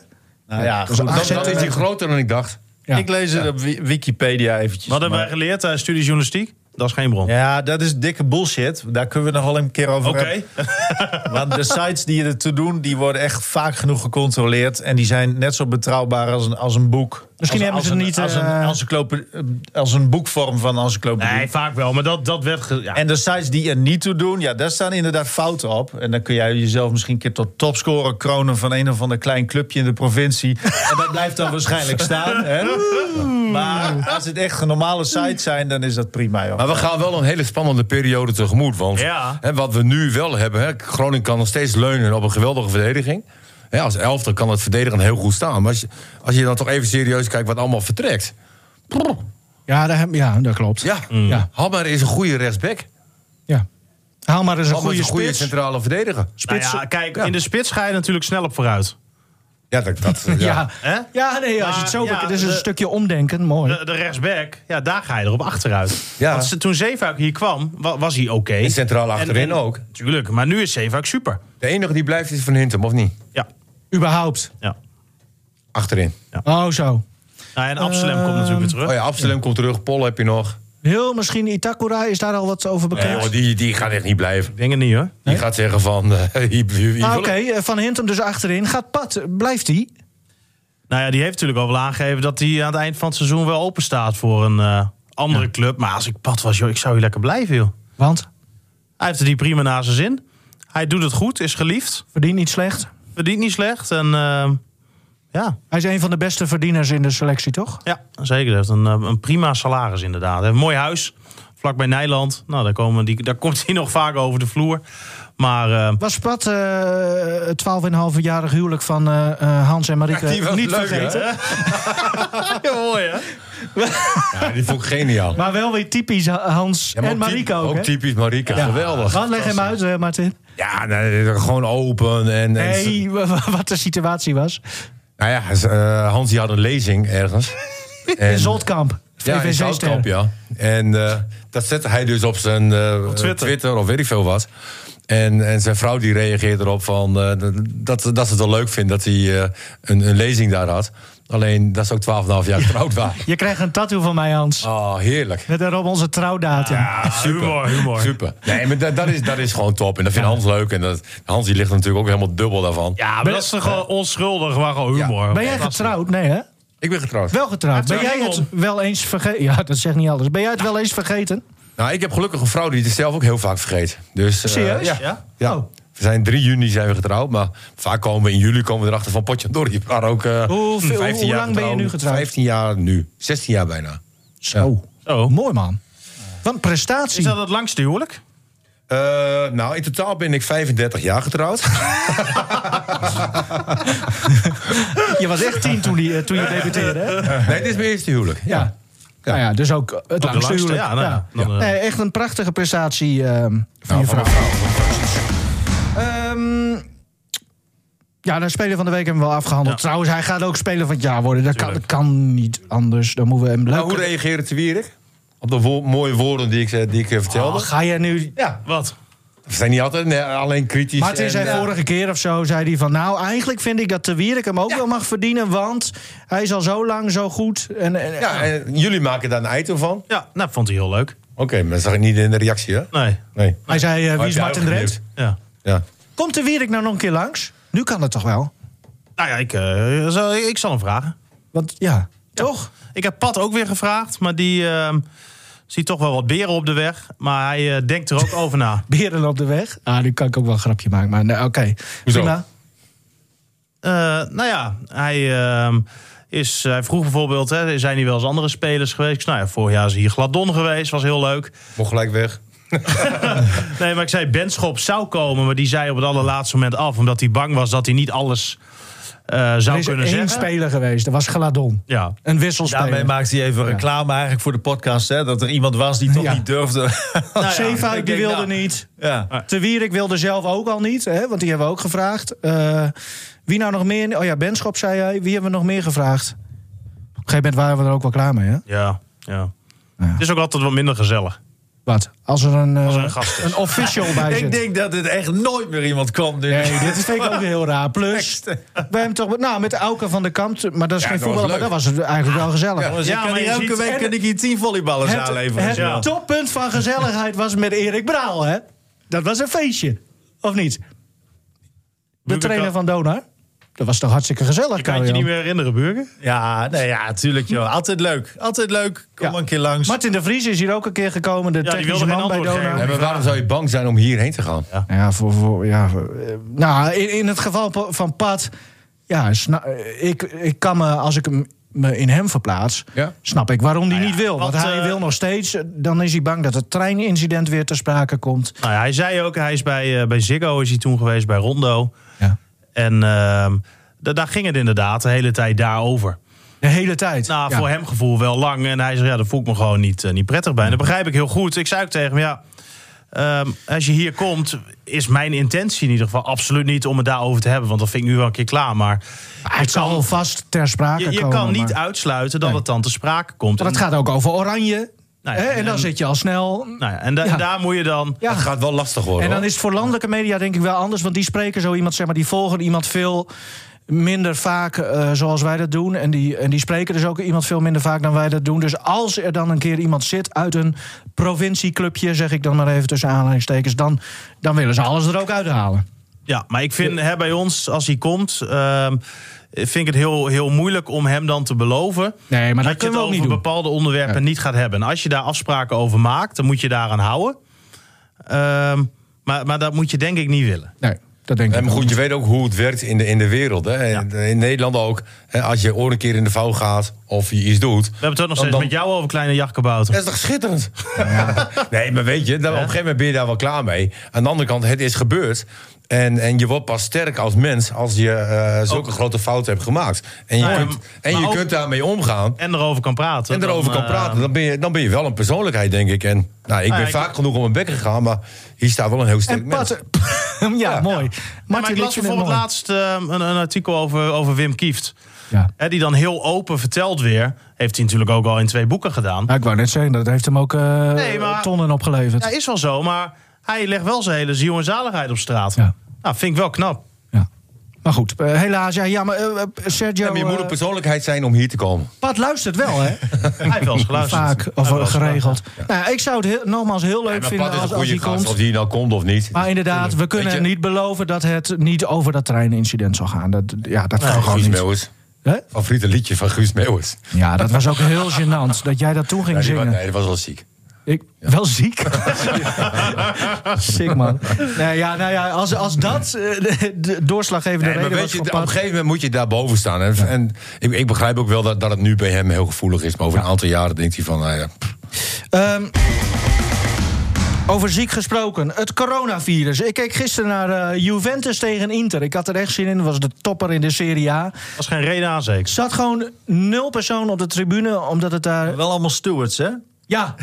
E: Nou ja, goed.
A: dat, dat is hij groter dan ik dacht.
C: Ja.
E: Ik lees het op Wi- Wikipedia eventjes.
D: Wat hebben
E: maar-
D: wij geleerd? eh, studie journalistiek? Dat is geen bron.
E: Ja, dat is dikke bullshit. Daar kunnen we nog wel een keer over
D: Oké.
E: hebben. Want de sites die er te doen, die worden echt vaak genoeg gecontroleerd. En die zijn net zo betrouwbaar als een, als een boek.
C: Misschien
E: als,
C: hebben
E: als
C: ze
E: een-
C: niet,
E: Als een,
C: eh,
E: encyclope- als een boekvorm van encyclopedie.
D: Nee, vaak wel. Maar dat, dat werd... ge- ja.
E: En de sites die er niet toe doen, ja, daar staan inderdaad fouten op. En dan kun jij jezelf misschien een keer tot topscorer kronen van een of ander klein clubje in de provincie. En dat blijft dan waarschijnlijk staan. Hè? Maar als het echt normale sites zijn, dan is dat prima, joh.
A: Maar we gaan wel een hele spannende periode tegemoet. Want
D: Ja.
A: hè, wat we nu wel hebben, hè, Groningen kan nog steeds leunen op een geweldige verdediging. Hè, als elfte kan het verdedigen heel goed staan. Maar als je, als je dan toch even serieus kijkt wat allemaal vertrekt. Prrr,
C: Ja, daar, heb- ja, dat klopt.
A: Mm. ja,
C: Ja.
A: Hammer is een goede rechtsback.
C: Ja. Haal maar eens een
A: Hammer is
C: goede
A: een goede
C: spits.
A: centrale verdediger.
D: Nou
C: spits.
D: ja, kijk,
A: ja.
D: in de spits ga je natuurlijk snel op vooruit.
A: Ja, dat... dat ja.
C: ja.
D: Hè?
C: Ja. nee, als je het zo
D: Maar, ja,
C: bekijkt, is het
D: de-
C: een stukje omdenken. Mooi.
D: De, de rechtsback, ja, daar ga je erop achteruit.
A: Ja.
D: Want ze- toen Zeefuik hier kwam, wa- was hij oké.
A: En centraal
D: En-
A: achterin
D: en-
A: ook.
D: Tuurlijk, maar nu is Zeefuik super.
A: De enige die blijft is Van Hintem, of niet?
D: Ja,
C: Überhaupt.
D: ja.
A: Achterin.
C: Oh, zo.
D: Nou, en Absalem komt natuurlijk weer terug.
A: Oh ja, Absalem komt terug. Pol heb je nog.
C: Heel misschien Itakura, is daar al wat over
A: Nee,
C: bekend?
A: joh, die, die gaat echt niet blijven.
D: Ik denk het niet, hoor.
A: Die gaat zeggen van... eh, hier- hier- hier wil
C: Ah,
A: ik-
C: Oké, eh, Van Hintem dus achterin. Gaat Pat, blijft hij?
D: Nou ja, die heeft natuurlijk al wel aangegeven dat hij aan het eind van het seizoen wel open staat voor een eh, andere club. Maar als ik pad was, joh, ik zou hier lekker blijven, joh.
C: Want
D: Hij heeft het hier prima naar zijn zin. Hij doet het goed, is geliefd,
C: verdient niet slecht.
D: verdient niet slecht. En eh, ja,
C: Hij is een van de beste verdieners in de selectie, toch?
D: ja, zeker. Hij heeft een, eh, een prima salaris inderdaad. Hij heeft een mooi huis, vlakbij Nijland. Nou, daar, komen die, daar komt hij nog vaak over de vloer. Maar eh,
C: Was Pat eh, het 12,5-jarig huwelijk van eh, eh, Hans en Marieke
A: Ja, die was
C: niet
A: leuk,
C: vergeten?
D: ja, mooi, hè?
A: Ja, die vond ik geniaal.
C: Maar wel weer typisch Ha- Hans
A: Ja, maar
C: en
A: typ-
C: Marieke ook, hè?
A: typisch Marika, geweldig.
C: Wat, leg hem uit, eh, Martin.
A: Ja, nee, gewoon open. En, en,
C: Nee, wa- wa- wat de situatie was.
A: Nou ja, z- eh, Hans die had een lezing ergens. En,
C: In Zoltkamp,
A: ja, in
C: VVC-ster.
A: Zoutkamp, ja. En eh, dat zette hij dus op zijn eh,
D: Twitter.
A: of weet ik veel wat. En, en zijn vrouw die reageert erop van, eh, dat, dat ze het wel leuk vindt dat hij eh, een, een lezing daar had. Alleen dat ze ook 12,5 jaar getrouwd waren.
C: Je krijgt een tattoo van mij, Hans.
A: Oh, heerlijk.
C: Met daarop onze trouwdatum.
D: humor, humor.
A: Super. Nee, maar dat, dat, is, dat is gewoon top. En dat vindt Hans leuk. En dat, Hans die ligt er natuurlijk ook helemaal dubbel daarvan.
D: Ja, maar dat is toch gewoon onschuldig, maar gewoon humor.
C: Ben jij
D: Fantastisch.
C: getrouwd? Nee, hè?
A: Ik ben getrouwd.
C: Wel getrouwd. Ben
D: Hij heeft
C: jij
D: er een
C: het wel eens vergeten? Ja, dat zegt niet alles. Ben jij het wel eens vergeten?
A: Nou, ik heb gelukkig een vrouw die het zelf ook heel vaak vergeet. Dus, eh,
C: Serieus?
A: ja.
D: Ja?
A: Ja.
C: Oh.
A: We zijn 3 juni zijn we getrouwd, maar vaak komen we in juli komen we erachter van potje door. Je waren ook eh,
C: Hoeveel-
A: 15
C: hoe
A: jaar
C: lang ben je nu getrouwd?
A: 15 jaar nu, 16 jaar bijna.
C: Zo.
D: Zo.
C: Mooi man. Wat een
D: Is
C: prestatie.
D: dat het langste huwelijk?
A: Eh, nou, in totaal ben ik 35 jaar getrouwd.
C: Je was echt tien toen, die, eh, toen je debuteerde. Hè? Ja.
A: nee, dit is mijn eerste huwelijk.
C: Ja. Nou ja, dus ook het langste,
D: langste,
C: huwelijk.
D: ja, nou ja. Dan, eh.
C: Nee, echt een prachtige prestatie ehm, van je vrouw. Ehm, ja, de speler van de week hebben we wel afgehandeld.
D: Ja.
C: Trouwens, hij gaat ook speler van het jaar worden. Dat kan, dat
D: Tuurlijk.
C: kan niet anders. Dan moeten we hem
A: Nou, hoe
C: leuk...
A: reageerde te Wierik? Op de wo- mooie woorden die ik, eh, die ik eh, vertelde.
C: Oh, ga je nu...
A: ja,
D: Wat?
A: we zijn niet altijd nee, alleen kritisch.
C: Martin
A: en,
C: zei
A: eh,
C: vorige keer of zo, zei hij van... nou, eigenlijk vind ik dat de Wierik hem ook wel mag verdienen... want hij is al zo lang zo goed. En, en-
A: ja, en jullie maken daar een item van.
D: Ja, nou, vond hij heel leuk.
A: Oké, maar dat zag ik niet in de reactie, hè?
D: Nee.
A: Nee.
C: hij zei, eh, wie
A: Heb
C: is
A: jij
C: Martin
A: ook
C: Drent?
A: geleerd?
D: Ja.
A: Ja.
C: Komt de Wierik nou nog een keer langs? Nu kan het toch wel?
D: Nou ja, ik, eh, zal, ik zal hem vragen.
C: Want ja, toch?
D: Ik heb Pat ook weer gevraagd, maar die ehm, ziet toch wel wat beren op de weg. Maar hij eh, denkt er ook over na.
C: Beren op de weg. Ah, nu kan ik ook wel een grapje maken, maar nee, oké.
A: Hoezo?
C: Prima.
D: Nou, Eh, nou ja, hij, ehm, is, hij vroeg bijvoorbeeld, hè, zijn hier wel eens andere spelers geweest? Ik zei, Nou ja, vorig jaar is hier Gladon geweest, was heel leuk.
A: Mocht gelijk weg.
D: Nee, maar ik zei, Benschop zou komen, maar die zei op het allerlaatste moment af. Omdat hij bang was dat hij niet alles eh,
C: Er
D: zou
C: is
D: kunnen
C: één
D: zeggen.
C: speler geweest, dat was Gladon.
D: Ja.
C: Een wisselspeler.
E: Daarmee maakte hij even reclame eigenlijk voor de podcast. Hè? Dat er iemand was die toch
C: Ja.
E: niet durfde.
D: Nou ja,
C: Zeefuik,
E: ik
C: Oh, die
E: denk,
C: wilde
E: nou.
C: niet.
E: ja.
C: Te Wierik wilde zelf ook al niet, hè, want die hebben we ook gevraagd. Eh, wie nou nog meer? Oh ja, Benschop zei hij. Wie hebben we nog meer gevraagd? Op een gegeven moment waren we er ook wel klaar mee, hè?
D: ja, ja. Het is ook altijd wat minder gezellig.
C: Wat? Als er een, eh,
D: Als er een gast is.
C: een official bij zit.
E: Ik denk dat het echt nooit meer iemand kwam. dus. Nu.
C: Nee, dit is vind ik ook heel raar. Plus,
E: Echt.
C: we hebben toch... Nou, met Auken van de Kamp, maar dat is geen
A: dat
C: voetbal,
A: was
C: maar dat
A: leuk.
C: was het eigenlijk wel gezellig.
E: Dus
D: Ja,
E: ik kan
D: maar
E: hier
D: je
E: elke
D: ziet-
E: week
D: en-
E: kan ik hier tien volleyballers
C: Het,
E: aanleveren.
C: het
E: ja.
C: toppunt van gezelligheid was met Erik Braal, hè? Dat was een feestje, of niet? De
D: Buurken-
C: trainer van Donar. Dat was toch hartstikke gezellig,
D: Ik kan het je
C: Karel-Jan?
D: niet meer herinneren, Burger.
E: Ja, nee, ja, tuurlijk joh. Altijd leuk. Altijd leuk. Kom
C: Ja.
E: een keer langs.
C: Martin de Vries is hier ook een keer gekomen, de
D: die
C: technische
D: wilde geen
C: man bij
D: antwoord
C: Donar.
A: Nee, maar waarom zou je bang zijn om hierheen te gaan?
C: Ja, voor, voor, ja, eh, nou, in, in het geval pa- van Pat... Ja, sna- eh, ik, ik kan me, als ik hem- me in hem verplaats...
A: Ja.
C: snap ik waarom hij
D: Nou ja,
C: niet wil. Want
D: want,
C: hij
D: eh,
C: wil nog steeds... eh, Dan is hij bang dat het treinincident weer ter sprake komt.
D: Nou ja, hij zei ook, hij is bij, eh, bij Ziggo is hij toen geweest, bij Rondo.
C: Ja.
D: En ehm, da- daar ging het inderdaad de hele tijd daarover.
C: De hele tijd.
D: Nou,
C: Ja.
D: voor hem gevoel wel lang. En hij zei, ja, daar voel ik me gewoon niet, eh, niet prettig bij. En dat
C: Mm.
D: begrijp ik heel goed. Ik zei ook tegen hem, ja, ehm, als je hier komt... is mijn intentie in ieder geval absoluut niet om het daarover te hebben. Want dat vind ik nu wel een keer klaar. Maar
C: Maar Het zal vast ter sprake
D: je, je
C: komen.
D: kan niet
C: maar-
D: uitsluiten dat
C: Nee.
D: het dan te sprake komt.
C: Maar het gaat ook over oranje.
D: Nou ja,
C: hè? En,
D: en-
C: dan
D: en-
C: zit je al snel...
D: En, nou ja, en da-
C: Ja.
D: daar moet je dan...
C: Ja.
A: Het gaat wel lastig worden.
C: En dan
A: hoor.
C: is het voor landelijke media denk ik wel anders. Want die spreken zo iemand, zeg maar, die volgen iemand veel minder vaak eh, zoals wij dat doen. En die, en die spreken dus ook iemand veel minder vaak dan wij dat doen. Dus als er dan een keer iemand zit uit een provincieclubje, zeg ik dan maar even tussen aanhalingstekens, dan, dan willen ze alles er ook uithalen.
D: Ja, maar ik vind hè, bij ons, als hij komt, ehm, vind ik het heel, heel moeilijk om hem dan te beloven.
C: Nee, maar dat
D: je
C: kunnen
D: het
C: we ook
D: over
C: niet doen.
D: bepaalde onderwerpen niet gaat hebben. En als je daar afspraken over maakt, dan moet je daaraan houden. Ehm, maar, maar dat moet je denk ik niet willen.
C: Nee, dat denk
A: Nee,
C: ik
A: maar
C: ook
A: goed,
C: niet.
A: je weet ook hoe het werkt in de, in de wereld. Hè? En In Nederland ook. Hè? Als je ooit een keer in de vouw gaat of je iets doet...
D: We hebben het ook nog steeds
A: dan-
D: met jou over kleine jachtkabouter.
A: Dat is toch schitterend? Nee, maar weet je, dan, op een gegeven moment ben je daar wel klaar mee. Aan de andere kant, het is gebeurd. En, en je wordt pas sterk als mens als je eh, zulke grote fouten hebt gemaakt. En je,
D: Nou ja,
A: kunt,
D: maar
A: en je
D: ook-
A: kunt daarmee omgaan.
D: En erover kan praten.
A: En erover
D: dan,
A: kan
D: eh,
A: praten. Dan ben, je, dan ben je wel een persoonlijkheid, denk ik. En nou, ik
D: ja,
A: ben
D: ik-
A: vaak genoeg om mijn bek gegaan, maar hier staat wel een heel sterk
C: En
A: mens.
C: Pat, eh, ja, mooi.
D: Ja, maar
C: Martin
D: ik las
C: Litsen is
D: bijvoorbeeld
C: mooi.
D: laatst ehm, een, een artikel over, over Wim Kieft.
C: Ja.
D: Hè, die dan heel open vertelt weer. Heeft hij natuurlijk ook al in twee boeken gedaan.
C: Nou, ik wou net zeggen, dat heeft hem ook eh,
D: Nee, maar-
C: tonnen opgeleverd.
D: Ja, is wel zo, maar hij legt wel zijn hele ziel en zaligheid op straat.
C: Ja.
D: Nou, vind ik wel knap.
C: Ja. Maar goed, eh, helaas. Ja, ja maar eh, eh, Sergio...
A: Ja, maar je moet
C: eh,
A: een persoonlijkheid zijn om hier te komen.
C: Pat luistert wel, hè?
D: Hij heeft wel eens geluisterd.
C: Vaak,
D: Hij
C: of
D: heeft wel eens
C: geregeld. Nou, ja, ik zou het heel- nogmaals heel leuk
A: Maar
C: vinden
A: Pat is
C: als,
A: een
C: als
A: goede
C: hij
A: gast, of
C: komt.
A: die nou komt of niet.
C: Maar inderdaad, we kunnen
A: Weet je-
C: niet beloven dat het niet over dat treinincident zal gaan. Dat, ja, dat kan gewoon
A: Guus
C: Nou, niet.
A: Meeuwis.
C: Hè?
A: Favoriete liedje van Guus Meeuwis.
C: Ja, dat was ook heel gênant dat jij dat toen ging
A: Ja, die wa-
C: zingen.
A: nee, dat was wel ziek.
C: Ik, Wel ziek. Sick man. Nee, ja, nou ja, als, als dat eh, de, de doorslaggevende
A: Nee, maar
C: reden
A: weet
C: was
A: je,
C: voor
A: op een
C: Pat-
A: gegeven moment moet je daarboven staan. En, en ik, ik begrijp ook wel dat, dat het nu bij hem heel gevoelig is. Maar over een aantal jaren denkt hij van... Nou ja,
C: Ehm, over ziek gesproken, het coronavirus. Ik keek gisteren naar eh, Juventus tegen Inter. Ik had er echt zin in, was de topper in de Serie A.
D: was geen reden aan, zeker.
C: Zat gewoon nul persoon op de tribune, omdat het daar...
E: Wel allemaal stewards, hè?
C: Ja,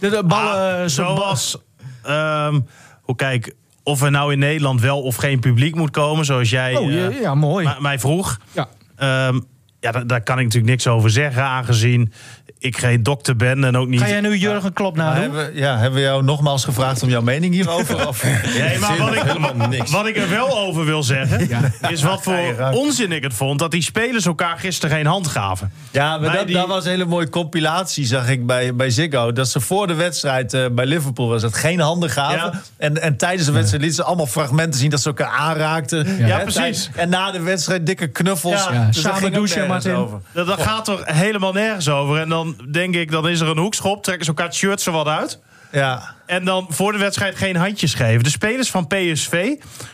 C: de, de ballen... eh,
D: Ah,
C: ze-
D: zoals, ehm, hoe kijk, of er nou in Nederland wel of geen publiek moet komen, zoals jij
C: Oh, ja,
D: eh,
C: ja, mooi.
D: ma- mij vroeg.
C: ja.
D: Ehm, ja, daar, daar kan ik natuurlijk niks over zeggen, aangezien ik geen dokter ben en ook niet...
C: Ga jij nu Jurgen Klopp
E: Maar
C: nadoen?
E: hebben, we- ja, hebben we jou nogmaals gevraagd om jouw mening hierover? Of?
D: Nee, maar wat ik,
A: helemaal niks.
D: wat ik er wel over wil zeggen, is wat voor onzin ik het vond dat die spelers elkaar gisteren geen hand gaven.
E: Ja, maar
D: Bij
E: dat,
D: die-
E: daar was een hele mooie compilatie, zag ik bij, bij Ziggo. Dat ze voor de wedstrijd eh, bij Liverpool was dat geen handen gaven.
D: Ja.
E: En, en tijdens de wedstrijd lieten ze allemaal fragmenten zien dat ze elkaar aanraakten. Hè,
D: precies.
E: tijdens- En na de wedstrijd dikke knuffels.
D: Ja.
E: Dus
C: Ja,
E: dat
C: samen
E: ging ook
C: douchen,
E: nergens
C: Martin.
E: over.
D: Dat, dat gaat toch helemaal nergens over. En dan denk ik, dan is er een hoekschop, trekken ze elkaar het shirt zo wat uit.
E: Ja.
D: En dan voor de wedstrijd geen handjes geven. De spelers van PSV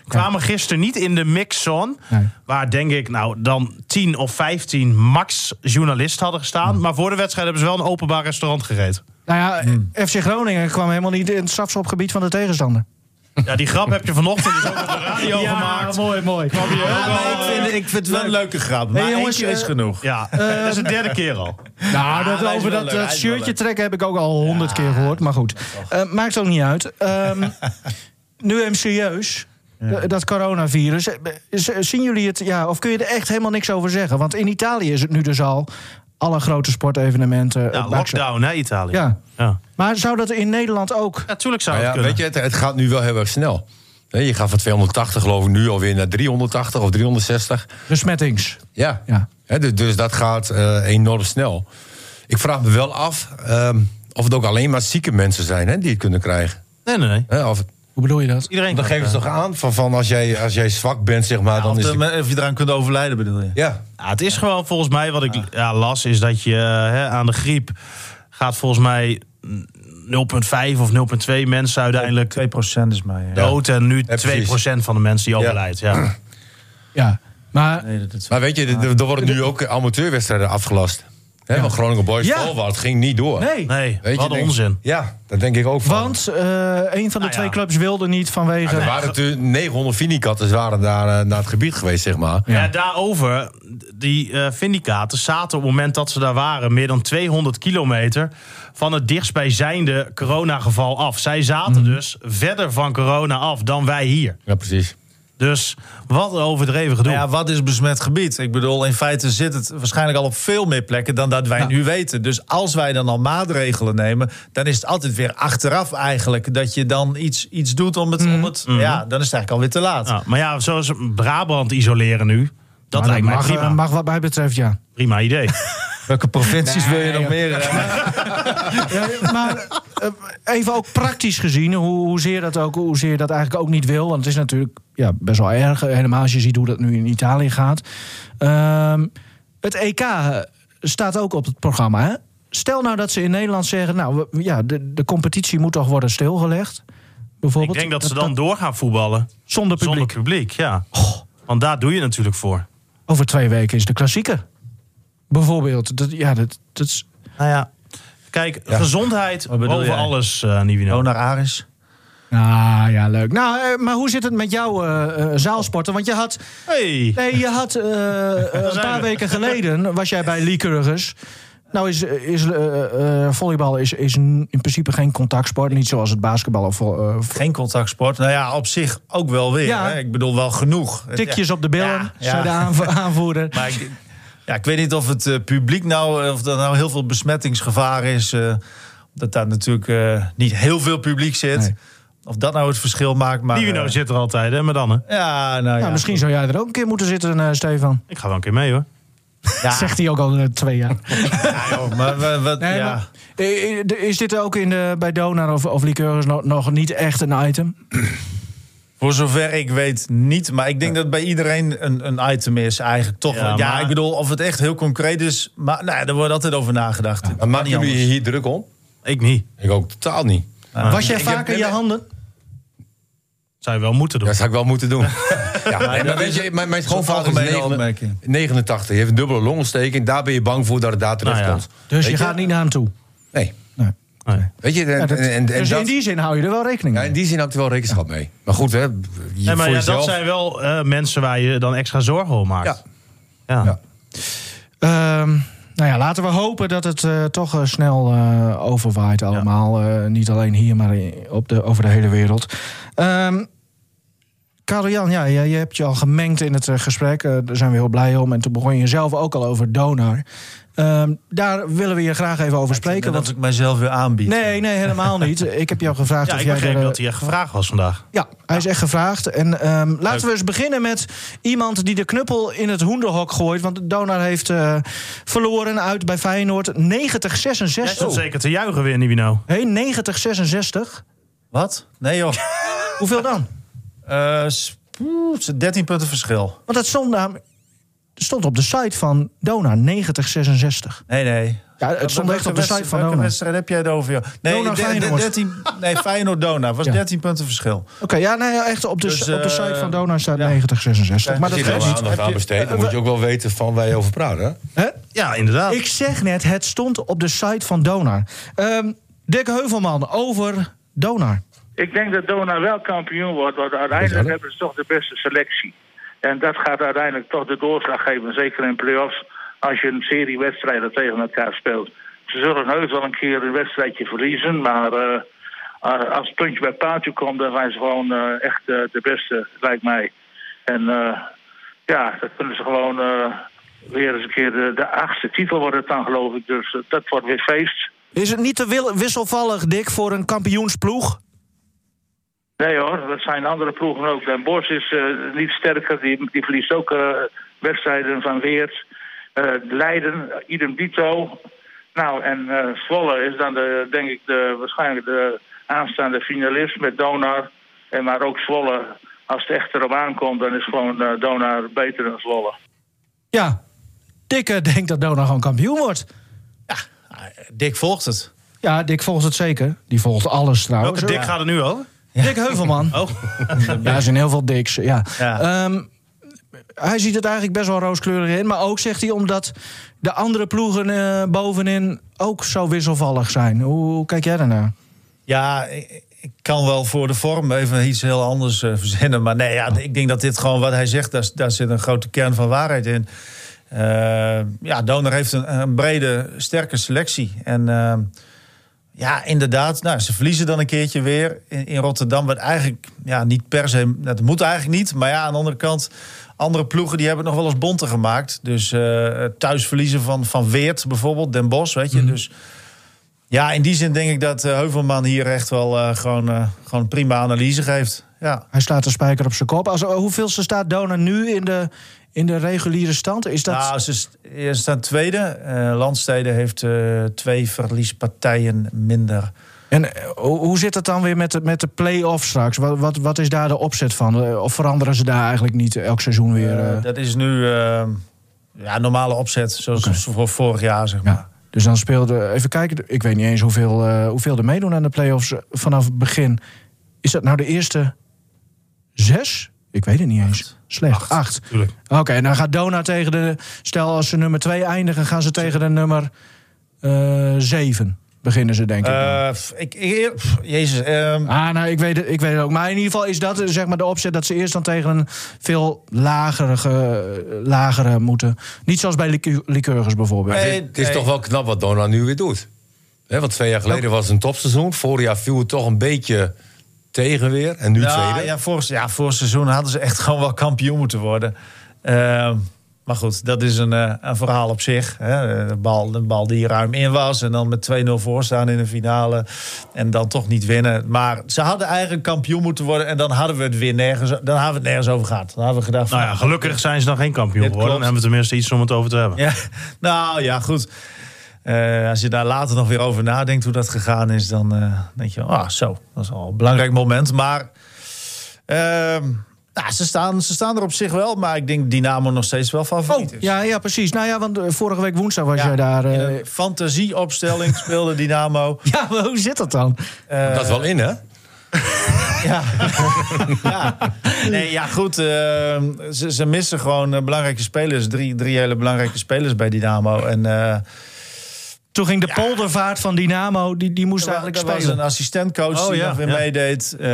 D: kwamen gisteren niet in de mixzone.
C: Nee.
D: Waar denk ik nou dan 10 of 15 max journalisten hadden gestaan. Maar voor de wedstrijd hebben ze wel een openbaar restaurant gegeten.
C: Nou ja, FC Groningen kwam helemaal niet in het strafschopgebied van de tegenstander.
D: Ja, die grap heb je vanochtend dus ook op de radio gemaakt.
C: mooi, mooi.
E: Ja, maar ik vind, ik vind het wel een leuke grap. Maar
C: jongens,
E: jongens,
C: eh,
E: is genoeg.
D: Ja, dat is de derde keer al.
C: Nou, Eh, dat,
E: hij is
C: over dat,
E: wel leuk,
C: dat
E: hij is wel
C: shirtje
E: leuk.
C: trekken heb ik ook al honderd keer gehoord. Maar goed, Eh, maakt ook niet uit. Ehm, nu hem serieus. d- Dat coronavirus. Eh, z- Zien jullie het? Ja, of kun je er echt helemaal niks over zeggen? Want in Italië is het nu dus al alle grote sportevenementen. eh,
D: Ja,
C: bak-
D: lockdown hè, Italië.
C: Ja.
D: Ja.
C: Maar zou dat in Nederland ook?
D: Natuurlijk zou
A: Nou
D: het
A: ja,
D: kunnen.
A: weet je, het, het gaat nu wel heel erg snel. Hè, Je gaat van 280 geloof ik nu alweer naar 380 of 360.
C: Besmettings.
A: Ja.
C: Ja.
A: Hè, dus, dus dat gaat eh, enorm snel. Ik vraag me wel af ehm, of het ook alleen maar zieke mensen zijn hè, die het kunnen krijgen.
D: Nee, nee, nee.
A: Hè, of,
C: Hoe bedoel je dat?
D: Iedereen
A: dan
D: kan
A: geven ze toch aan van, van als, jij, als jij zwak bent, zeg maar, dan
E: Of,
A: is
E: de-
A: het...
E: of je eraan kunt overlijden, bedoel je?
A: Ja,
D: Ja, het is gewoon volgens mij wat ik ja, las, is dat je eh, hè, aan de griep gaat volgens mij mm, 0,5 of 0,2 mensen uiteindelijk
E: 2% is mij. ja.
D: dood. En nu 2%
A: precies.
D: van de mensen die overlijdt. Ja.
C: Ja. Maar
E: Nee, dat is-
A: maar weet je, er- er er worden nu ook amateurwedstrijden afgelast. Hè, Want Groningen Boys
C: Ja.
A: Volwaard ging niet door.
C: nee.
D: Nee,
A: Weet je,
D: wat
A: denk-
D: onzin.
A: Ja, dat denk ik ook van.
C: Want eh, een van de
D: Nou ja.
C: twee clubs wilde niet vanwege.
A: Er waren natuurlijk 900 Finikatters waren daar eh, naar het gebied geweest, zeg maar.
D: Ja. daarover, die eh vindicaten zaten op het moment dat ze daar waren... meer dan 200 kilometer van het dichtstbijzijnde coronageval af. Zij zaten dus verder van corona af dan wij hier.
A: Ja, precies.
D: Dus wat een overdreven gedoe.
E: Nou ja, wat is besmet gebied? Ik bedoel, in feite zit het waarschijnlijk al op veel meer plekken dan dat wij nu weten. Dus als wij dan al maatregelen nemen, dan is het altijd weer achteraf eigenlijk dat je dan iets, iets doet om het, om het. Ja, dan is het eigenlijk alweer te laat.
D: Ja, maar ja, zoals Brabant isoleren nu... Dat
C: Maar
D: lijkt mij
C: mag, eh,
D: prima.
C: mag wat mij betreft, ja.
D: Prima idee.
E: Welke provincies wil je nog meer? eh?
C: Ja, maar eh, even ook praktisch gezien, hoe, hoezeer, dat ook, hoezeer dat eigenlijk ook niet wil. Want het is natuurlijk ja, best wel erg. eh, Helemaal als je ziet hoe dat nu in Italië gaat. Ehm, het EK staat ook op het programma. Hè? Stel nou dat ze in Nederland zeggen... nou we- ja, de, de competitie moet toch worden stilgelegd.
D: Ik
C: Bijvoorbeeld.
D: denk dat ze dan door gaan voetballen.
C: Zonder publiek.
D: Zonder publiek, ja. Want daar doe je natuurlijk voor.
C: Over twee weken is de klassieker. Bijvoorbeeld. Dat, ja, dat, dat is...
D: Nou ja. Kijk, gezondheid
E: bedoel
D: boven
E: jij? Oh,
D: alles, eh Nivino.
E: Donar Aris.
C: Ah, ja, leuk. Nou, eh, maar hoe zit het met jouw eh, eh, zaalsporten? Want je had
D: Hey.
C: Nee, je had eh, een
D: zijn
C: paar
D: we.
C: weken geleden was jij bij Liekeurgers. Nou is, is eh, eh, volleybal is, is in principe geen contactsport. Niet zoals het basketbal of vo- eh, vo-
E: Geen contactsport. Nou ja, op zich ook wel weer.
C: Ja.
E: Hè? Ik bedoel, wel genoeg.
C: tikjes op de billen,
E: Ja, ja.
C: zei de aanvo- aanvoerder.
E: Maar ik, ja, ik weet niet of het eh, publiek nou, eh, of er nou heel veel besmettingsgevaar is. eh, dat daar natuurlijk eh, niet heel veel publiek zit.
C: Nee.
E: Of dat nou het verschil maakt. Maar,
D: Nivino
E: eh,
D: zit er altijd, hè, maar dan, hè.
E: ja, nou ja.
C: nou, misschien zou jij er ook een keer moeten zitten, eh, Stefan.
D: Ik ga wel een keer mee, hoor.
E: Ja,
C: Zegt hij ook al eh, twee jaar.
E: ja, joh, maar we- wat,
C: Nee,
E: ja.
C: maar, eh, eh, de- is dit ook in de, bij Donar of, of Liekeurgers nog, nog niet echt een item?
E: Voor zover ik weet niet. Maar ik denk dat bij iedereen een, een item is eigenlijk. Toch,
D: Ja,
E: ja, ja
D: maar-
E: ik bedoel, of het echt heel concreet is. Maar nou, ja, daar wordt altijd over nagedacht.
A: Maar maken jullie je hier druk om?
D: Ik niet.
A: Ik ook totaal niet.
C: Was jij
A: ik heb-
C: vaker je handen?
D: Zou je wel moeten doen.
A: Dat zou ik wel moeten doen. ja, nee, maar
E: dat
A: weet
E: is
A: je, mijn, mijn schoonvader
E: algemene
A: is
E: opmerking.
A: 89. 89. Hij heeft een dubbele longontsteking. Daar ben je bang voor dat het daar terecht
D: Nou ja.
A: komt.
C: Dus je,
A: Weet
C: gaat niet naar hem toe.
A: Nee.
C: Nee.
D: Nee.
A: Weet je, en,
C: Ja, dat-
A: en, en, en
C: dus in
A: dat-
C: die zin hou je er wel rekening
A: ja,
C: mee.
A: in die zin had ik er wel rekenschap mee. Maar goed, hè, je,
D: Nee, maar
A: voor
D: ja,
A: jezelf.
D: dat zijn wel eh, mensen waar je dan extra zorgen om maakt.
A: Ja.
D: Ja.
A: Ja.
C: Ehm, nou ja, laten we hopen dat het eh, toch eh, snel eh, overwaait allemaal. Eh, niet alleen hier, maar i- op de, over de hele wereld. Ehm Karel-Jan, ja, je, je hebt je al gemengd in het eh, gesprek. Eh, daar zijn we heel blij om. En toen begon je zelf ook al over Donar. Ehm, daar willen we je graag even over spreken.
E: dat
C: Want...
E: ik mijzelf weer aanbied.
C: Nee, nee, helemaal niet. Ik heb jou gevraagd
D: eh. Ja,
C: of
D: ik
C: jij...
D: begreep
C: er, eh,
D: dat hij echt gevraagd was vandaag.
C: ja, hij is echt gevraagd. En ehm, laten we eens beginnen met iemand die de knuppel in het hoenderhok gooit. Want Donar heeft eh, verloren uit bij Feyenoord Oh. 90-66.
D: Jij stond
C: Hé,
D: zeker te juichen weer, Nibino.
C: 90-66.
E: Wat? Nee joh.
C: Hoeveel dan?
E: Eh, s- poeh, 13 punten verschil.
C: Want dat stond, naam- stond op de site van Donar, 90-66.
E: Nee, nee.
C: Ja, het stond echt op de site van
E: Welke
C: Donar.
E: wedstrijd heb jij het over? Joh? Nee,
C: Donar
E: de- de-
C: Feyenoord.
E: 13, nee, Feyenoord Dona. was
C: Ja.
E: 13 punten verschil.
C: Oké, ja, nee, ja, echt op de,
E: Dus,
C: op de
E: eh,
C: site van Donar staat
E: ja.
C: 90-66. Maar
A: Als
C: dat
A: je daar
C: geeft niet.
A: aandacht aan besteedt,
C: Eh,
A: dan moet je ook wel weten van waar je over praat. Hè?
C: Hè?
D: Ja, inderdaad.
C: Ik zeg net, het stond op de site van Donar. Ehm Dick Heuvelman over Donar.
F: Ik denk dat Dona wel kampioen wordt, want uiteindelijk
A: Bizar.
F: hebben ze toch de beste selectie. En dat gaat uiteindelijk toch de doorslag geven, zeker in play-offs, als je een serie wedstrijden tegen elkaar speelt. Ze zullen heus wel een keer een wedstrijdje verliezen, maar eh, a- als het puntje bij paaltje komt, dan zijn ze gewoon eh, echt eh, de beste, lijkt mij. En eh, ja, dan kunnen ze gewoon eh, weer eens een keer de, de achtste titel wordt het dan, geloof ik. Dus eh, dat wordt weer feest.
C: Is het niet te wil- wisselvallig, Dick, voor een kampioensploeg?
F: Nee hoor, dat zijn andere ploegen ook. Den Bosch is eh, niet sterker, die, die verliest ook eh, wedstrijden van Weert. Eh, Leiden, idem dito. Nou, en eh, Zwolle is dan de, denk ik de, waarschijnlijk de aanstaande finalist met Donar. En maar ook Zwolle, als het echt erop aankomt, dan is gewoon eh, Donar beter dan Zwolle.
C: Ja. Dick eh, denkt dat Dona gewoon kampioen wordt.
E: Dick volgt het.
C: Ja, Dick volgt het zeker. Die volgt alles trouwens.
D: Welke dik gaat er nu over?
C: Dick Heuvelman.
D: Oh,
C: Ja, er zijn heel veel Dicks. Ja.
E: Ja.
C: Ehm, hij ziet het eigenlijk best wel rooskleurig in. Maar ook zegt hij omdat de andere ploegen eh, bovenin ook zo wisselvallig zijn. Hoe, hoe kijk jij daarnaar?
E: Ja, ik, ik kan wel voor de vorm even iets heel anders eh, verzinnen. Maar nee, ja, ik denk dat dit gewoon wat hij zegt, daar, daar zit een grote kern van waarheid in. Eh, ja, Donor heeft een, een brede, sterke selectie. En eh, ja, inderdaad, nou, ze verliezen dan een keertje weer in, in Rotterdam. Wat eigenlijk ja, niet per se, dat moet eigenlijk niet. Maar ja, aan de andere kant, andere ploegen die hebben het nog wel eens bonter gemaakt. Dus eh, thuis verliezen van, van Weert bijvoorbeeld, Den Bosch, weet je. Dus ja, in die zin denk ik dat eh, Heuvelman hier echt wel eh, gewoon, eh, gewoon prima analyse geeft. Ja.
C: Hij slaat de spijker op zijn kop. Als, hoeveelste staat Dona nu in de, in de reguliere stand? Is dat...
E: Nou, ze, st- ze staan tweede. Eh Landstede heeft eh, twee verliespartijen minder.
C: En eh, hoe hoe zit het dan weer met de, met de play-off straks? Wat, wat, wat is daar de opzet van? Eh, Of veranderen ze daar eigenlijk niet elk seizoen weer? eh?
E: Eh, dat is nu eh, ja, normale opzet, zoals voor vorig jaar, zeg maar.
C: ja. Dus dan speelde, even kijken, ik weet niet eens hoeveel, eh, hoeveel er meedoen aan de play-offs eh, vanaf het begin. Is dat nou de eerste zes? Ik weet het niet eens. Slecht. Acht.
D: tuurlijk.
C: Oké, en dan gaat Dona tegen de. Stel als ze nummer twee eindigen, gaan ze tegen de nummer eh, zeven. Beginnen ze, denk ik.
E: Eh, pff, ik, ik- pff, jezus, ehm,
C: Ah, nou, ik weet, het, ik weet het ook. Maar in ieder geval is dat eh, zeg maar, de opzet dat ze eerst dan tegen een veel lagere, ge- lagere moeten. Niet zoals bij liqueur- liqueurgers bijvoorbeeld.
D: Eh,
E: Nee,
A: Het is toch wel knap wat Dona nu weer doet. Hè, want twee jaar geleden was het een topseizoen. Vorig jaar viel het toch een beetje tegen weer. En nu
E: ja,
A: tweede.
E: Ja, vorig, ja, vorig seizoen hadden ze echt gewoon wel kampioen moeten worden. Ehm, maar goed, dat is een, eh, een verhaal op zich. Hè. De, bal, de bal die ruim in was en dan met 2-0 voorstaan in de finale. En dan toch niet winnen. Maar ze hadden eigenlijk kampioen moeten worden. En dan hadden we het weer nergens, dan hadden we het nergens over gehad. Dan hadden we gedacht van,
D: nou ja, gelukkig zijn ze dan geen kampioen
E: Dit
D: geworden. Dan
E: klopt.
D: hebben we tenminste iets om het over te hebben.
E: ja, nou ja, goed. Eh, als je daar later nog weer over nadenkt hoe dat gegaan is, dan eh, denk je, ah, zo, dat is al een belangrijk moment. Maar ehm, Nou, ze staan, ze staan er op zich wel, maar ik denk Dynamo nog steeds wel favoriet is.
C: Oh, Ja, ja, precies. Nou ja, want eh, vorige week woensdag was
E: Ja,
C: jij daar. eh,
E: in een fantasieopstelling speelde Dynamo.
C: Ja, maar hoe zit dat dan?
A: dat is wel in, hè?
E: Ja. ja. Nee, ja, goed. eh, ze, ze missen gewoon eh, belangrijke spelers. Drie, drie hele belangrijke spelers bij Dynamo. En, eh,
C: Toen ging de poldervaart van Dynamo, die, die moest eigenlijk
E: er was
C: spelen.
E: een assistentcoach
D: Oh,
E: die
D: ja,
E: nog weer
D: ja.
E: meedeed. Ehm,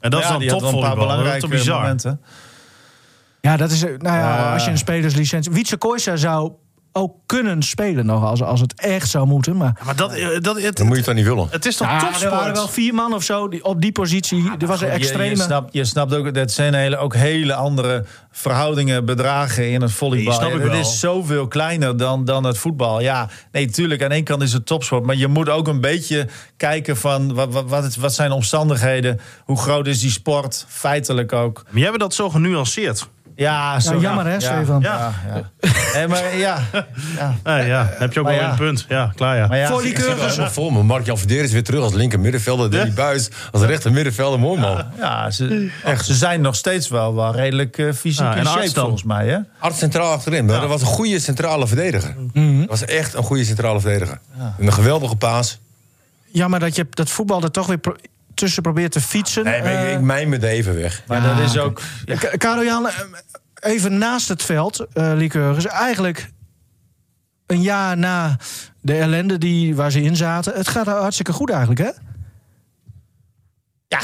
D: En dat
E: ja,
D: is dan
E: die had wel een
D: topvolleybal. Dat
E: paar
D: is
E: belangrijke
D: toch bizar?
E: momenten.
C: Ja, dat is. eh, Nou ja,
E: Ja.
C: als je een spelerslicentie. Wietse Kooijsa zou ook kunnen spelen nog als, als het echt zou moeten. Maar
D: Ja, Maar dat, eh, dat, het,
A: Dan moet je het dan niet willen.
D: het is toch
C: Ja, er waren
D: topsport?
C: wel vier man of zo die, op die positie. er was een
E: Je-
C: extreme.
E: Je, snapt, je snapt ook, dat zijn hele, ook hele andere verhoudingen, bedragen in het volleybal.
D: Die snap ik
E: het
D: wel.
E: is zoveel kleiner dan, dan het voetbal. Ja, nee, tuurlijk, aan één kant is het topsport. Maar je moet ook een beetje kijken van wat, wat, wat, wat zijn de omstandigheden? Hoe groot is die sport? Feitelijk ook.
D: Maar jij hebt dat zo genuanceerd.
E: Ja, zo,
C: jammer, hè, Stefan?
E: Ja, ja. Nee, maar ja. ja.
D: Eh, ja, dan heb je ook
E: maar
D: wel
E: ja.
D: een punt. Ja, klaar ja.
E: Maar ja,
C: Voor die
A: Ik zit
C: keurigers.
A: wel helemaal voor me. Mark-Jan Verdeer is weer terug als linker middenvelder. Danny
D: Ja.
A: Buis als rechter middenvelder. Mooi man.
E: Ja, ze, echt, ze zijn nog steeds wel, wel redelijk eh, fysiek
D: Ja, en
E: in shape
D: arts dan.
E: volgens mij. Hè?
A: Hard centraal achterin. maar Dat was een goede centrale verdediger.
E: Mhm.
A: Dat was echt een goede centrale verdediger. Een geweldige paas.
C: Jammer dat je dat voetbal er toch weer pro- tussen probeert te fietsen.
A: Nee, maar
C: Eh,
A: ik, ik mijn me er even weg.
E: Maar dat is ook... Ja,
C: Ka- Karel Jan, eh, even naast het veld, eh Lycurgus. Eigenlijk een jaar na de ellende die, waar ze in zaten. Het gaat daar hartstikke goed eigenlijk, hè?
A: Ja,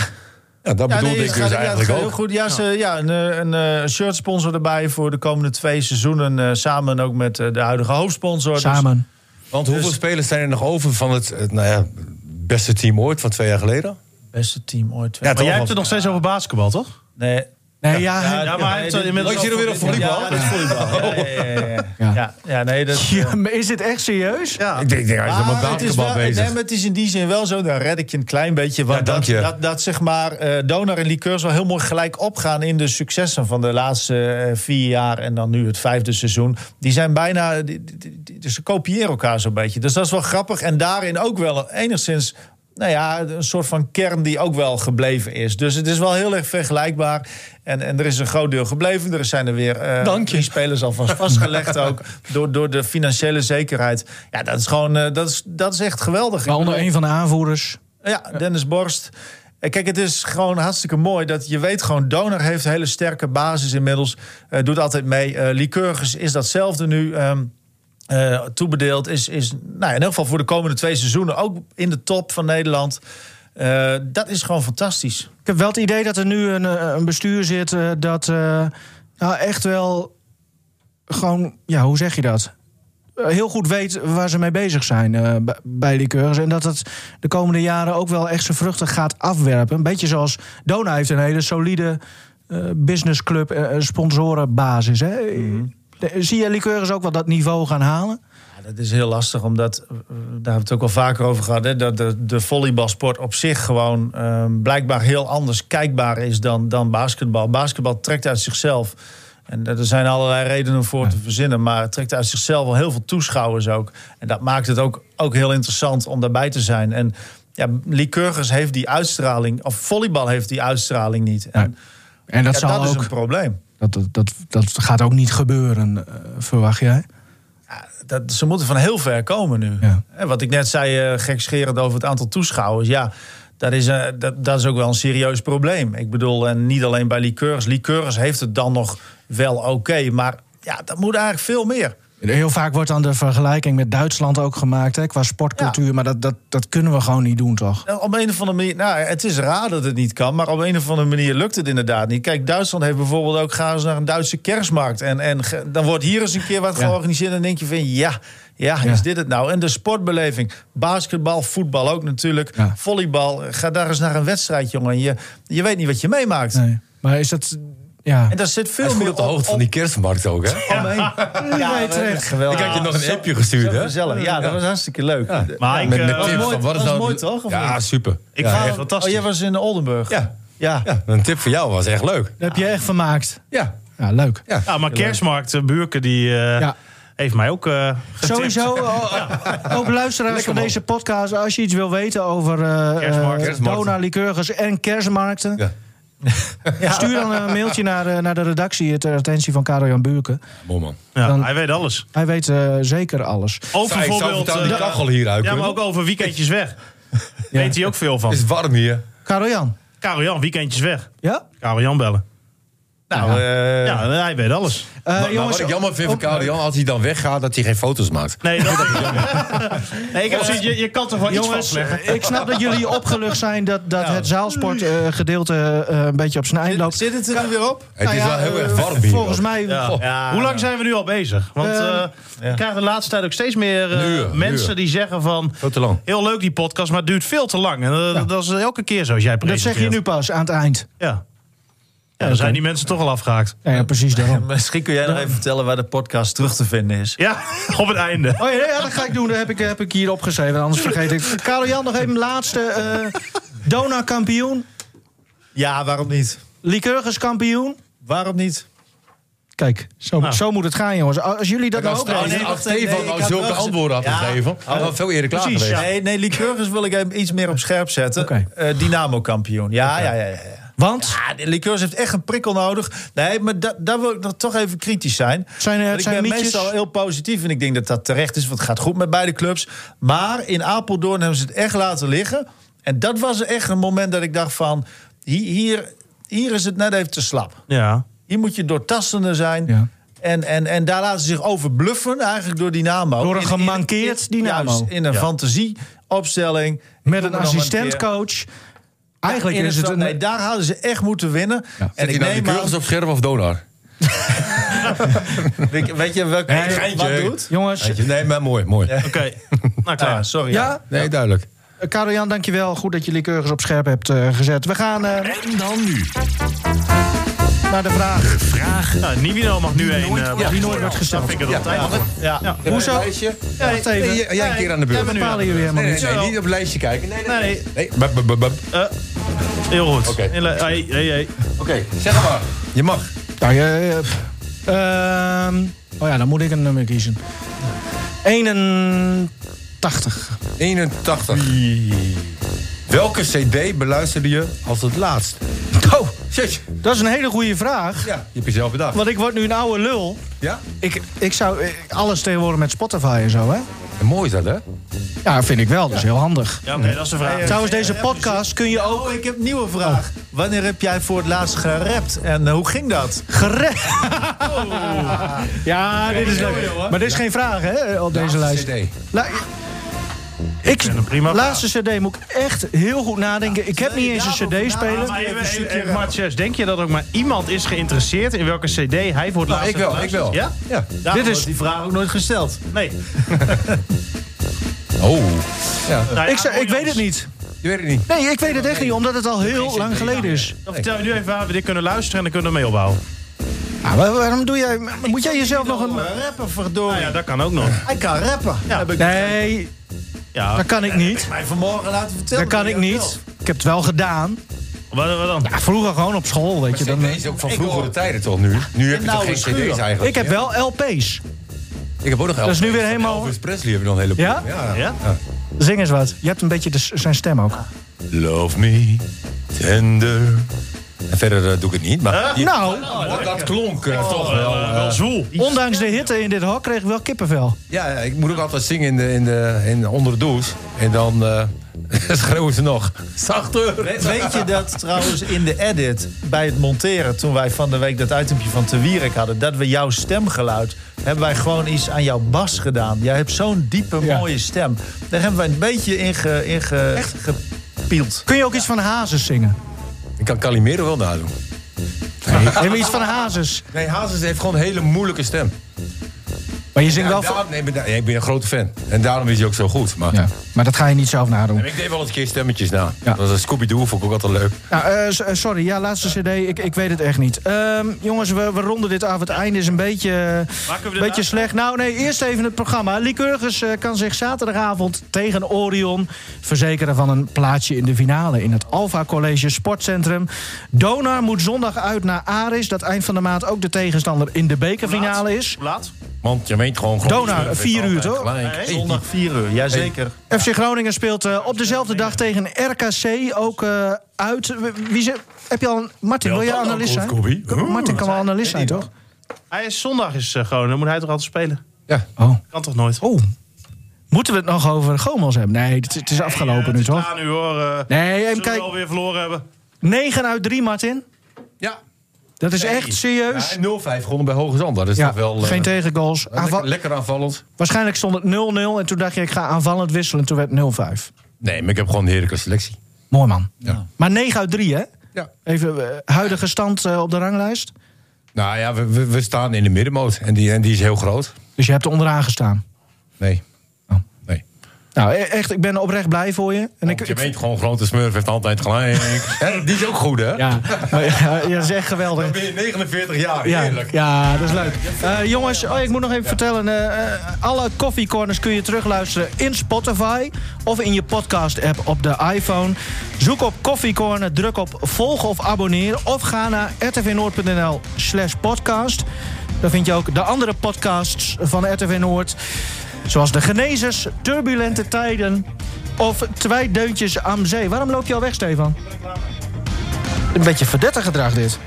A: dat
E: Ja,
A: bedoelde
E: nee,
A: ik
E: het
A: dus
E: gaat- ja, het
A: eigenlijk
E: gaat heel
A: ook.
E: Goed. Ja, ze, ja een, eh, een eh, shirt sponsor erbij voor de komende twee seizoenen. eh, samen ook met eh, de huidige hoofdsponsor. Dus-
C: Samen.
A: Want hoeveel spelers zijn er nog over van het eh, nou ja, beste team ooit van twee jaar geleden?
E: beste team ooit.
A: Ja,
D: Maar
A: toch
D: jij
A: wel.
D: hebt het nog steeds over basketbal, toch?
E: nee.
C: Nee, ja, ja,
D: maar hij heeft
E: dit-
D: inmiddels
E: dit-
A: Oh, ik zie er weer op volleybal.
E: Ja, dit is volleybal. Ja, ja, ja, ja, ja. Ja, ja, nee, dat...
C: Ja, maar is dit echt serieus?
D: Ja.
A: Ik denk, ik denk hij is helemaal
E: Maar het is wel,
A: basketbal bezig.
E: nee, maar het is in die zin wel zo, dan red ik je een klein beetje. Want
A: Ja, dank
E: dat,
A: je.
E: dat, dat zeg maar, eh, Donar en Liqueurs wel heel mooi gelijk opgaan in de successen van de laatste eh, vier jaar en dan nu het vijfde seizoen. Die zijn bijna, die- die- die- die- dus ze kopiëren elkaar zo'n beetje. Dus dat is wel grappig en daarin ook wel enigszins. Nou ja, een soort van kern die ook wel gebleven is. Dus het is wel heel erg vergelijkbaar. En, en er is een groot deel gebleven. Er zijn er weer eh,
A: Dank je.
E: drie spelers alvast vastgelegd ook. Door, door de financiële zekerheid. Ja, dat is gewoon eh, dat is, dat is echt geweldig.
C: Waaronder een van de aanvoerders.
E: Ja, Dennis Borst. Eh, Kijk, het is gewoon hartstikke mooi dat je weet gewoon... Donor heeft een hele sterke basis inmiddels. eh, doet altijd mee. Eh Lycurgus is datzelfde nu ehm, eh, toebedeeld. Is, is nou, in elk geval voor de komende twee seizoenen ook in de top van Nederland. Eh, dat is gewoon fantastisch.
C: Ik heb wel het idee dat er nu een, eh, een bestuur zit eh, dat eh, nou echt wel gewoon, ja, hoe zeg je dat? Eh, Heel goed weet waar ze mee bezig zijn eh, b- bij liqueurs. En dat het de komende jaren ook wel echt zijn vruchten gaat afwerpen. Een beetje zoals Dona heeft een hele solide eh, businessclub, eh, eh, sponsorenbasis. Hè?
E: Mhm.
C: Eh, Zie je liqueurs ook wel dat niveau gaan halen?
E: Ja, dat is heel lastig, omdat eh, daar hebben we het ook al vaker over gehad. Hè, dat de, de volleybalsport op zich gewoon eh, blijkbaar heel anders kijkbaar is dan, dan basketbal. Basketbal trekt uit zichzelf. En er zijn allerlei redenen voor te verzinnen. Maar het trekt uit zichzelf wel heel veel toeschouwers ook. En dat maakt het ook, ook heel interessant om daarbij te zijn. En ja, Lycurgus heeft die uitstraling, of volleybal heeft die uitstraling niet. En
C: En dat,
E: ja,
C: zal
E: dat is een
C: ook,
E: probleem.
C: dat, dat, dat, dat gaat ook niet gebeuren, eh, verwacht jij?
E: dat, ze moeten van heel ver komen nu.
C: Ja.
E: Hè, Wat ik net zei, eh gekscherend over het aantal toeschouwers. Ja, dat is, eh, dat, dat is ook wel een serieus probleem. Ik bedoel, en niet alleen bij Liqueurs. Liqueurs heeft het dan nog wel oké. maar ja, dat moet eigenlijk veel meer.
C: Heel vaak wordt dan de vergelijking met Duitsland ook gemaakt, hè, qua sportcultuur. Maar dat, dat, dat kunnen we gewoon niet doen, toch?
E: Nou, Op een of andere manier, nou, het is raar dat het niet kan, maar op een of andere manier lukt het inderdaad niet. Kijk, Duitsland heeft bijvoorbeeld ook gaan ze naar een Duitse kerstmarkt. En, en ge- dan wordt hier eens een keer wat
C: Ja.
E: georganiseerd. En dan denk je van ja, ja,
C: Ja.
E: is dit het nou? En de sportbeleving, basketbal, voetbal ook natuurlijk,
C: Ja.
E: volleybal. Ga daar eens naar een wedstrijd, jongen. Je, je weet niet wat je meemaakt.
C: Nee. Maar is dat. Ja.
E: En daar zit
A: Hij
E: veel
A: is goed
E: meer
A: op de hoogte van die kerstmarkt ook, hè?
E: omheen. Ja,
C: terecht.
E: geweldig.
A: Ik had je nog een appje gestuurd,
E: Zo
A: hè?
E: gezellig. Ja, dat was hartstikke leuk.
D: Maar ik,
A: Met,
D: eh,
A: met tips
E: mooi-
A: van wat is
E: dat was
A: nou...
E: mooi, toch, of
A: Ja,
E: niet?
A: super.
D: ik
A: ja,
D: ga
A: echt-
D: het fantastisch.
E: Oh, jij was in Oldenburg.
A: Ja.
E: ja.
A: ja, een tip voor jou was echt leuk.
C: Dat heb je echt vermaakt.
A: Ja.
C: Ja, leuk.
A: Ja.
D: Ja, maar kerstmarkt, eh, Buurke, die eh,
C: Ja.
D: heeft mij ook eh, getipt.
C: Sowieso, o- ook luisteraars van deze podcast, als je iets wil weten over eh
D: Kerstmarkten.
C: eh,
A: Kerstmarkten.
C: dona, liqueurs en kerstmarkten.
A: Ja.
C: Stuur dan een mailtje naar, eh, naar de redactie, ter attentie van Karel-Jan Buurken.
A: Mooi man.
D: Ja,
C: Dan-
D: hij weet alles.
C: Hij weet eh, zeker alles.
D: Over
A: Zou- zou
D: bijvoorbeeld...
A: vertellen die
D: eh,
A: kachel hier uit
D: ja, maar
A: kunnen?
D: ook over weekendjes weg. Weet hij ook veel van.
A: Het is warm hier.
C: Karel-Jan,
D: Karel-Jan, weekendjes weg.
C: ja?
D: Karel-Jan bellen.
E: Nou, eh,
D: Ja, hij weet alles.
C: Eh,
A: Maar Nou, wat ik jammer vind van Karel Jan, als hij dan weggaat, dat hij geen foto's maakt.
D: Nee, dat nee, ik heb gezien, je, je kan toch wel iets
C: Eh, Jongens, eh,
D: vastleggen.
C: ik snap dat jullie opgelucht zijn dat, dat het zaalsportgedeelte eh, een beetje op zijn eind loopt.
E: zit het er nu weer op?
A: Het
C: Nou
A: is
C: ja,
A: wel heel
C: eh,
A: erg warm hier.
C: Volgens
A: ook.
C: mij.
D: Ja.
A: Goh.
D: Ja, Hoe lang zijn we nu al bezig? Want eh
C: ah, Eh,
D: ik krijg de laatste tijd ook steeds meer eh,
A: Een uur, een
D: mensen
A: uur.
D: die zeggen van...
A: Veel te lang.
D: Heel leuk die podcast, maar het duurt veel te lang. En eh, dat is elke keer zoals jij
C: Dat
D: presenteert.
C: zeg je nu pas aan het eind.
D: Ja. ja, dan zijn die mensen toch al afgehaakt.
C: Ja, ja, precies daarom.
E: Misschien kun jij nog even vertellen waar de podcast terug te vinden is.
D: Ja, op het einde.
C: Oh ja, ja, dat ga ik doen. Dat heb ik, heb ik hier opgeschreven. Anders vergeet ik. Karel Jan, nog even een laatste. eh Dona kampioen.
E: Ja, waarom niet?
C: Lycurgus kampioen.
E: Waarom niet?
C: Kijk, zo,
D: Nou.
C: zo moet het gaan, jongens. Als jullie dat nou
A: Als,
C: ook
A: als,
C: weten-
E: nee,
A: als
E: wacht, nee,
A: Stefan
E: ik
A: nou
E: had wel
A: zulke
E: gezegd-
A: antwoorden had
E: Ja.
A: gegeven, dan was veel eerder klaar
D: Precies,
A: geweest.
D: ja.
E: Nee, nee, Lycurgus wil ik even iets meer op scherp zetten.
C: Oké.
E: Eh, Dynamo-kampioen. Ja, ja, ja, ja, ja.
C: Want
E: Ah, de Lycurgus heeft echt een prikkel nodig. Nee, maar da- daar wil ik nog toch even kritisch zijn.
C: zijn er
E: Want
C: zijn
E: ik ben
C: mietjes.
E: meestal heel positief en ik denk dat dat terecht is, want het gaat goed met beide clubs. Maar in Apeldoorn hebben ze het echt laten liggen. En dat was echt een moment dat ik dacht van, hier, hier, hier is het net even te slap.
D: Ja.
E: Hier moet je doortastender zijn.
C: Ja.
E: En, en, en daar laten ze zich overbluffen eigenlijk door Dynamo.
C: Door een
E: In- in- in-
C: gemankeerd Dynamo.
E: Juist, in een
D: Ja.
E: fantasieopstelling.
C: met een
E: Noem het nog keer.
C: assistentcoach. Eigenlijk
E: In
C: is het een.
E: nee, daar hadden ze echt moeten winnen.
A: En
E: En
A: ik
E: ik
A: nou die
E: neem aan,
A: Burgers op Scherp of Donar?
E: weet je- weet je welke wat doet?
C: Jongens,
A: Nee, maar mooi, mooi.
D: Oké. Nou, klaar.
E: Ah, sorry.
C: ja?
A: Nee, duidelijk.
C: Eh, Karel-Jan, dankjewel. Goed dat je Lycurgus op scherp hebt eh, gezet. We gaan eh,
B: En dan nu.
C: naar de vraag.
B: Vraag
D: Nou, Nivino mag nu één. eh,
C: die nooit werd gesteld.
D: Dat vind ik er altijd.
E: Ja.
C: Hoezo?
B: eh,
C: Wacht even.
A: Nee, jij- jij een keer aan de beurt.
C: Jij bepalen jullie helemaal
A: Nee,
C: niet.
A: nee, nee, niet op het lijstje kijken. Nee, nee,
D: Nee,
A: nee. Bub, bub, bub, bub.
C: Eh.
A: Oké,
D: Eh, heel goed.
A: Oké.
D: Inle- hey, hey, hey.
A: zeg maar. Je mag.
C: Nou, je- je- Ehm, oh ja, dan moet ik een nummer kiezen. 81.
A: 81. Welke cd beluisterde je als het laatst?
C: Oh,
A: Shit.
C: dat is een hele goede vraag.
A: Ja, je hebt jezelf bedacht.
C: Want ik word nu een oude lul.
A: Ja?
C: Ik, ik zou eh, alles tegenwoordig met Spotify en zo, hè?
A: En mooi is dat, hè?
C: Ja, vind ik wel. Dat is heel handig.
D: Ja, oké, dat is de vraag.
C: Trouwens, deze podcast kun je ook
E: Oh, ik heb een nieuwe vraag. Wanneer heb jij voor het laatst gerapt en eh, hoe ging dat?
C: gerecht. Ja, dit is leuk. Maar dit is geen vraag, hè, op deze lijst.
A: CD.
C: La- ik,
D: vind hem prima.
C: laatste cd moet ik echt heel goed nadenken. Ik heb niet eens een cd
D: Ah,
C: spelen.
D: maar even- even- even, Martjes, denk je dat ook maar iemand is geïnteresseerd in welke CD hij voor
A: Nou,
D: het laatst
A: ik wel, ik
D: heeft
A: wel.
D: geluisterd?
A: Ja.
D: Ja?
C: Dit
D: Dit
C: is-
D: is...
E: Die vraag ook nooit gesteld.
D: Nee. Nou
A: Oh. Ja,
D: Nou ja,
C: Ik, zou- ik weet het niet.
A: je weet het niet.
C: Nee, ik weet het echt niet, omdat het al heel lang geleden is.
D: Dan vertel je nu even waar we dit kunnen luisteren en dan kunnen we mee opbouwen.
C: Ah, waar- waarom doe jij... Moet jij jezelf nog een...
E: Rappen, verdorie.
D: Nou ja, dat kan ook nog.
E: Hij kan rappen.
D: Ja.
E: Heb ik
C: Nee,
D: Ja,
C: dat kan ik niet.
E: mij vanmorgen laten vertellen.
C: Dat kan ik
E: Ja,
C: niet. Ik heb het wel gedaan.
D: wat, wat dan?
C: Ja, vroeger gewoon op school, weet je.
A: Dan
C: Dan,
A: is ook van vroegere tijden toch nu? Nu heb je
E: Nou,
A: toch geen
E: een schuur.
A: cd's eigenlijk?
C: ik heb wel LP's.
A: Ik heb ook nog
C: Dat is nu
A: LP's
C: weer
A: van
C: helemaal-
A: Elvis Presley hebben we nog een
C: Ja?
A: heleboel. Ja?
D: Ja?
C: Zing eens wat. Je hebt een beetje de, s- zijn stem ook.
A: Love me, tender. En verder eh, doe ik het niet, maar... je-
C: Nou,
A: dat- dat klonk eh, toch wel...
D: Eh,
A: eh,
D: wel zwoel.
C: ondanks de hitte in dit hok kreeg ik wel kippenvel.
A: Ja, ja, ik moet ook altijd zingen in de, in de, in de, onder de douche. En dan eh, schreeuwen ze nog. Zachter!
E: Weet je dat trouwens in de edit bij het monteren, toen wij van de week dat itempje van Te Wierik hadden, dat we jouw stemgeluid, hebben wij gewoon iets aan jouw bas gedaan. Jij hebt zo'n diepe,
C: Ja.
E: mooie stem. Daar hebben wij een beetje in, ge, in ge- gepield.
C: Kun je ook iets van Hazes zingen?
A: Ik kan Calimero wel nadoen.
C: Hebben we iets van Hazes?
A: Nee, Hazes heeft gewoon een hele moeilijke stem.
C: Maar je zingt
A: Ja,
C: wel van...
A: daarom- nee, maar daar- ik ben een grote fan. En daarom is hij ook zo goed. Maar
C: Ja, maar dat ga je niet zelf nadoen.
A: ik deed wel eens een keer stemmetjes na.
C: Ja.
A: Dat was een Scooby-Doo, vond ik ook altijd leuk.
C: Nou, eh, s- eh, sorry, ja, laatste cd, ik, ik weet het echt niet. Ehm, jongens, we, we ronden dit af. Het einde is een beetje,
D: Maken we de
C: beetje
D: na-
C: slecht. Nou nee, eerst even het programma. Lycurgus eh, kan zich zaterdagavond tegen Orion verzekeren van een plaatsje in de finale... in het Alfa College Sportcentrum. Donar moet zondag uit naar Aris, dat eind van de maand ook de tegenstander in de bekerfinale is.
D: Hoe laat?
A: Want je weet gewoon...
C: Donau,
A: Groningen heeft
C: vier uur,
A: altijd
C: toch?
A: gelijk. Hey,
E: Zondag 4 uur, jazeker.
C: FC Groningen speelt eh, op dezelfde dag tegen RKC ook eh, uit. W- Wie ze, heb je al een, Martin, wil je
A: dat dan
C: analist
A: goed,
C: zijn?
A: Kobbie?
C: Kan- Martin kan wel analist zijn, toch?
D: Hij is zondag is eh, Groningen, dan moet hij toch altijd spelen?
A: Ja.
C: Oh.
D: Kan toch nooit?
C: oh. Moeten we het nog over Gomels hebben? Nee, het, is- het is afgelopen nu, toch?
D: Aan nu hoor. eh,
C: Nee, en
D: zullen we
C: kijk,
D: alweer verloren hebben.
C: 9 uit 3, Martin.
A: Ja.
C: Dat is echt serieus.
A: Ja, en 0-5 gewonnen bij Hoge Zand. Dat is
C: Ja,
A: toch wel... eh,
C: geen tegengoals. Aanval-
A: lekker, lekker aanvallend.
C: Waarschijnlijk stond het 0-0 en toen dacht je ik ga aanvallend wisselen. Toen werd het 0-5.
A: Nee, maar ik heb gewoon een heerlijke selectie.
C: Mooi man. Maar 9 uit 3 hè?
A: Ja.
C: Even eh, huidige stand eh, op de ranglijst.
A: Nou ja, we, we, we staan in de middenmoot. En die, en die is heel groot.
C: Dus je hebt er onderaan gestaan.
A: Nee.
C: Oh.
A: Nee.
C: Nou e- echt, ik ben oprecht blij voor je. En ik,
A: Want je
C: ik-
A: weet gewoon, grote smurf heeft altijd gelijk. Hè, die is ook goed, hè?
C: ja, maar, ja, ja, dat is echt geweldig.
A: Dan ben je 49 jaar,
C: Ja,
A: heerlijk.
C: ja, dat is leuk. Eh, jongens, oh, ik moet nog even vertellen. eh, eh, alle koffiecorners kun je terugluisteren in Spotify of in je podcast-app op de iPhone. Zoek op Koffiecorner, druk op volgen of abonneren of ga naar rtvnoord.nl slash podcast. Daar vind je ook de andere podcasts van RTV Noord. Zoals de Genezers, Turbulente Tijden of Twee Deuntjes aan Zee. Waarom loop je al weg, Stefan? Een beetje verdette gedrag dit.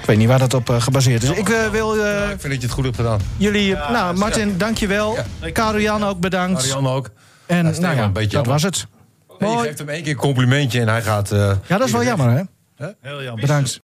C: Ik weet niet waar dat op eh, gebaseerd is. Ik eh, wil eh,
A: Ik vind dat je het goed hebt gedaan.
C: jullie... nou, Martin, dankjewel. Karel Jan ook bedankt.
A: Marianne ook.
C: En
A: Ja, Stefan,
C: nou ja,
A: een
C: dat
A: beetje jammer.
C: was het.
A: Nee, je
C: Mooi.
A: geeft hem één keer een complimentje en hij gaat... eh,
C: Ja, dat is wel
A: iedereen-
C: jammer, hè?
E: Heel jammer.
C: Bedankt.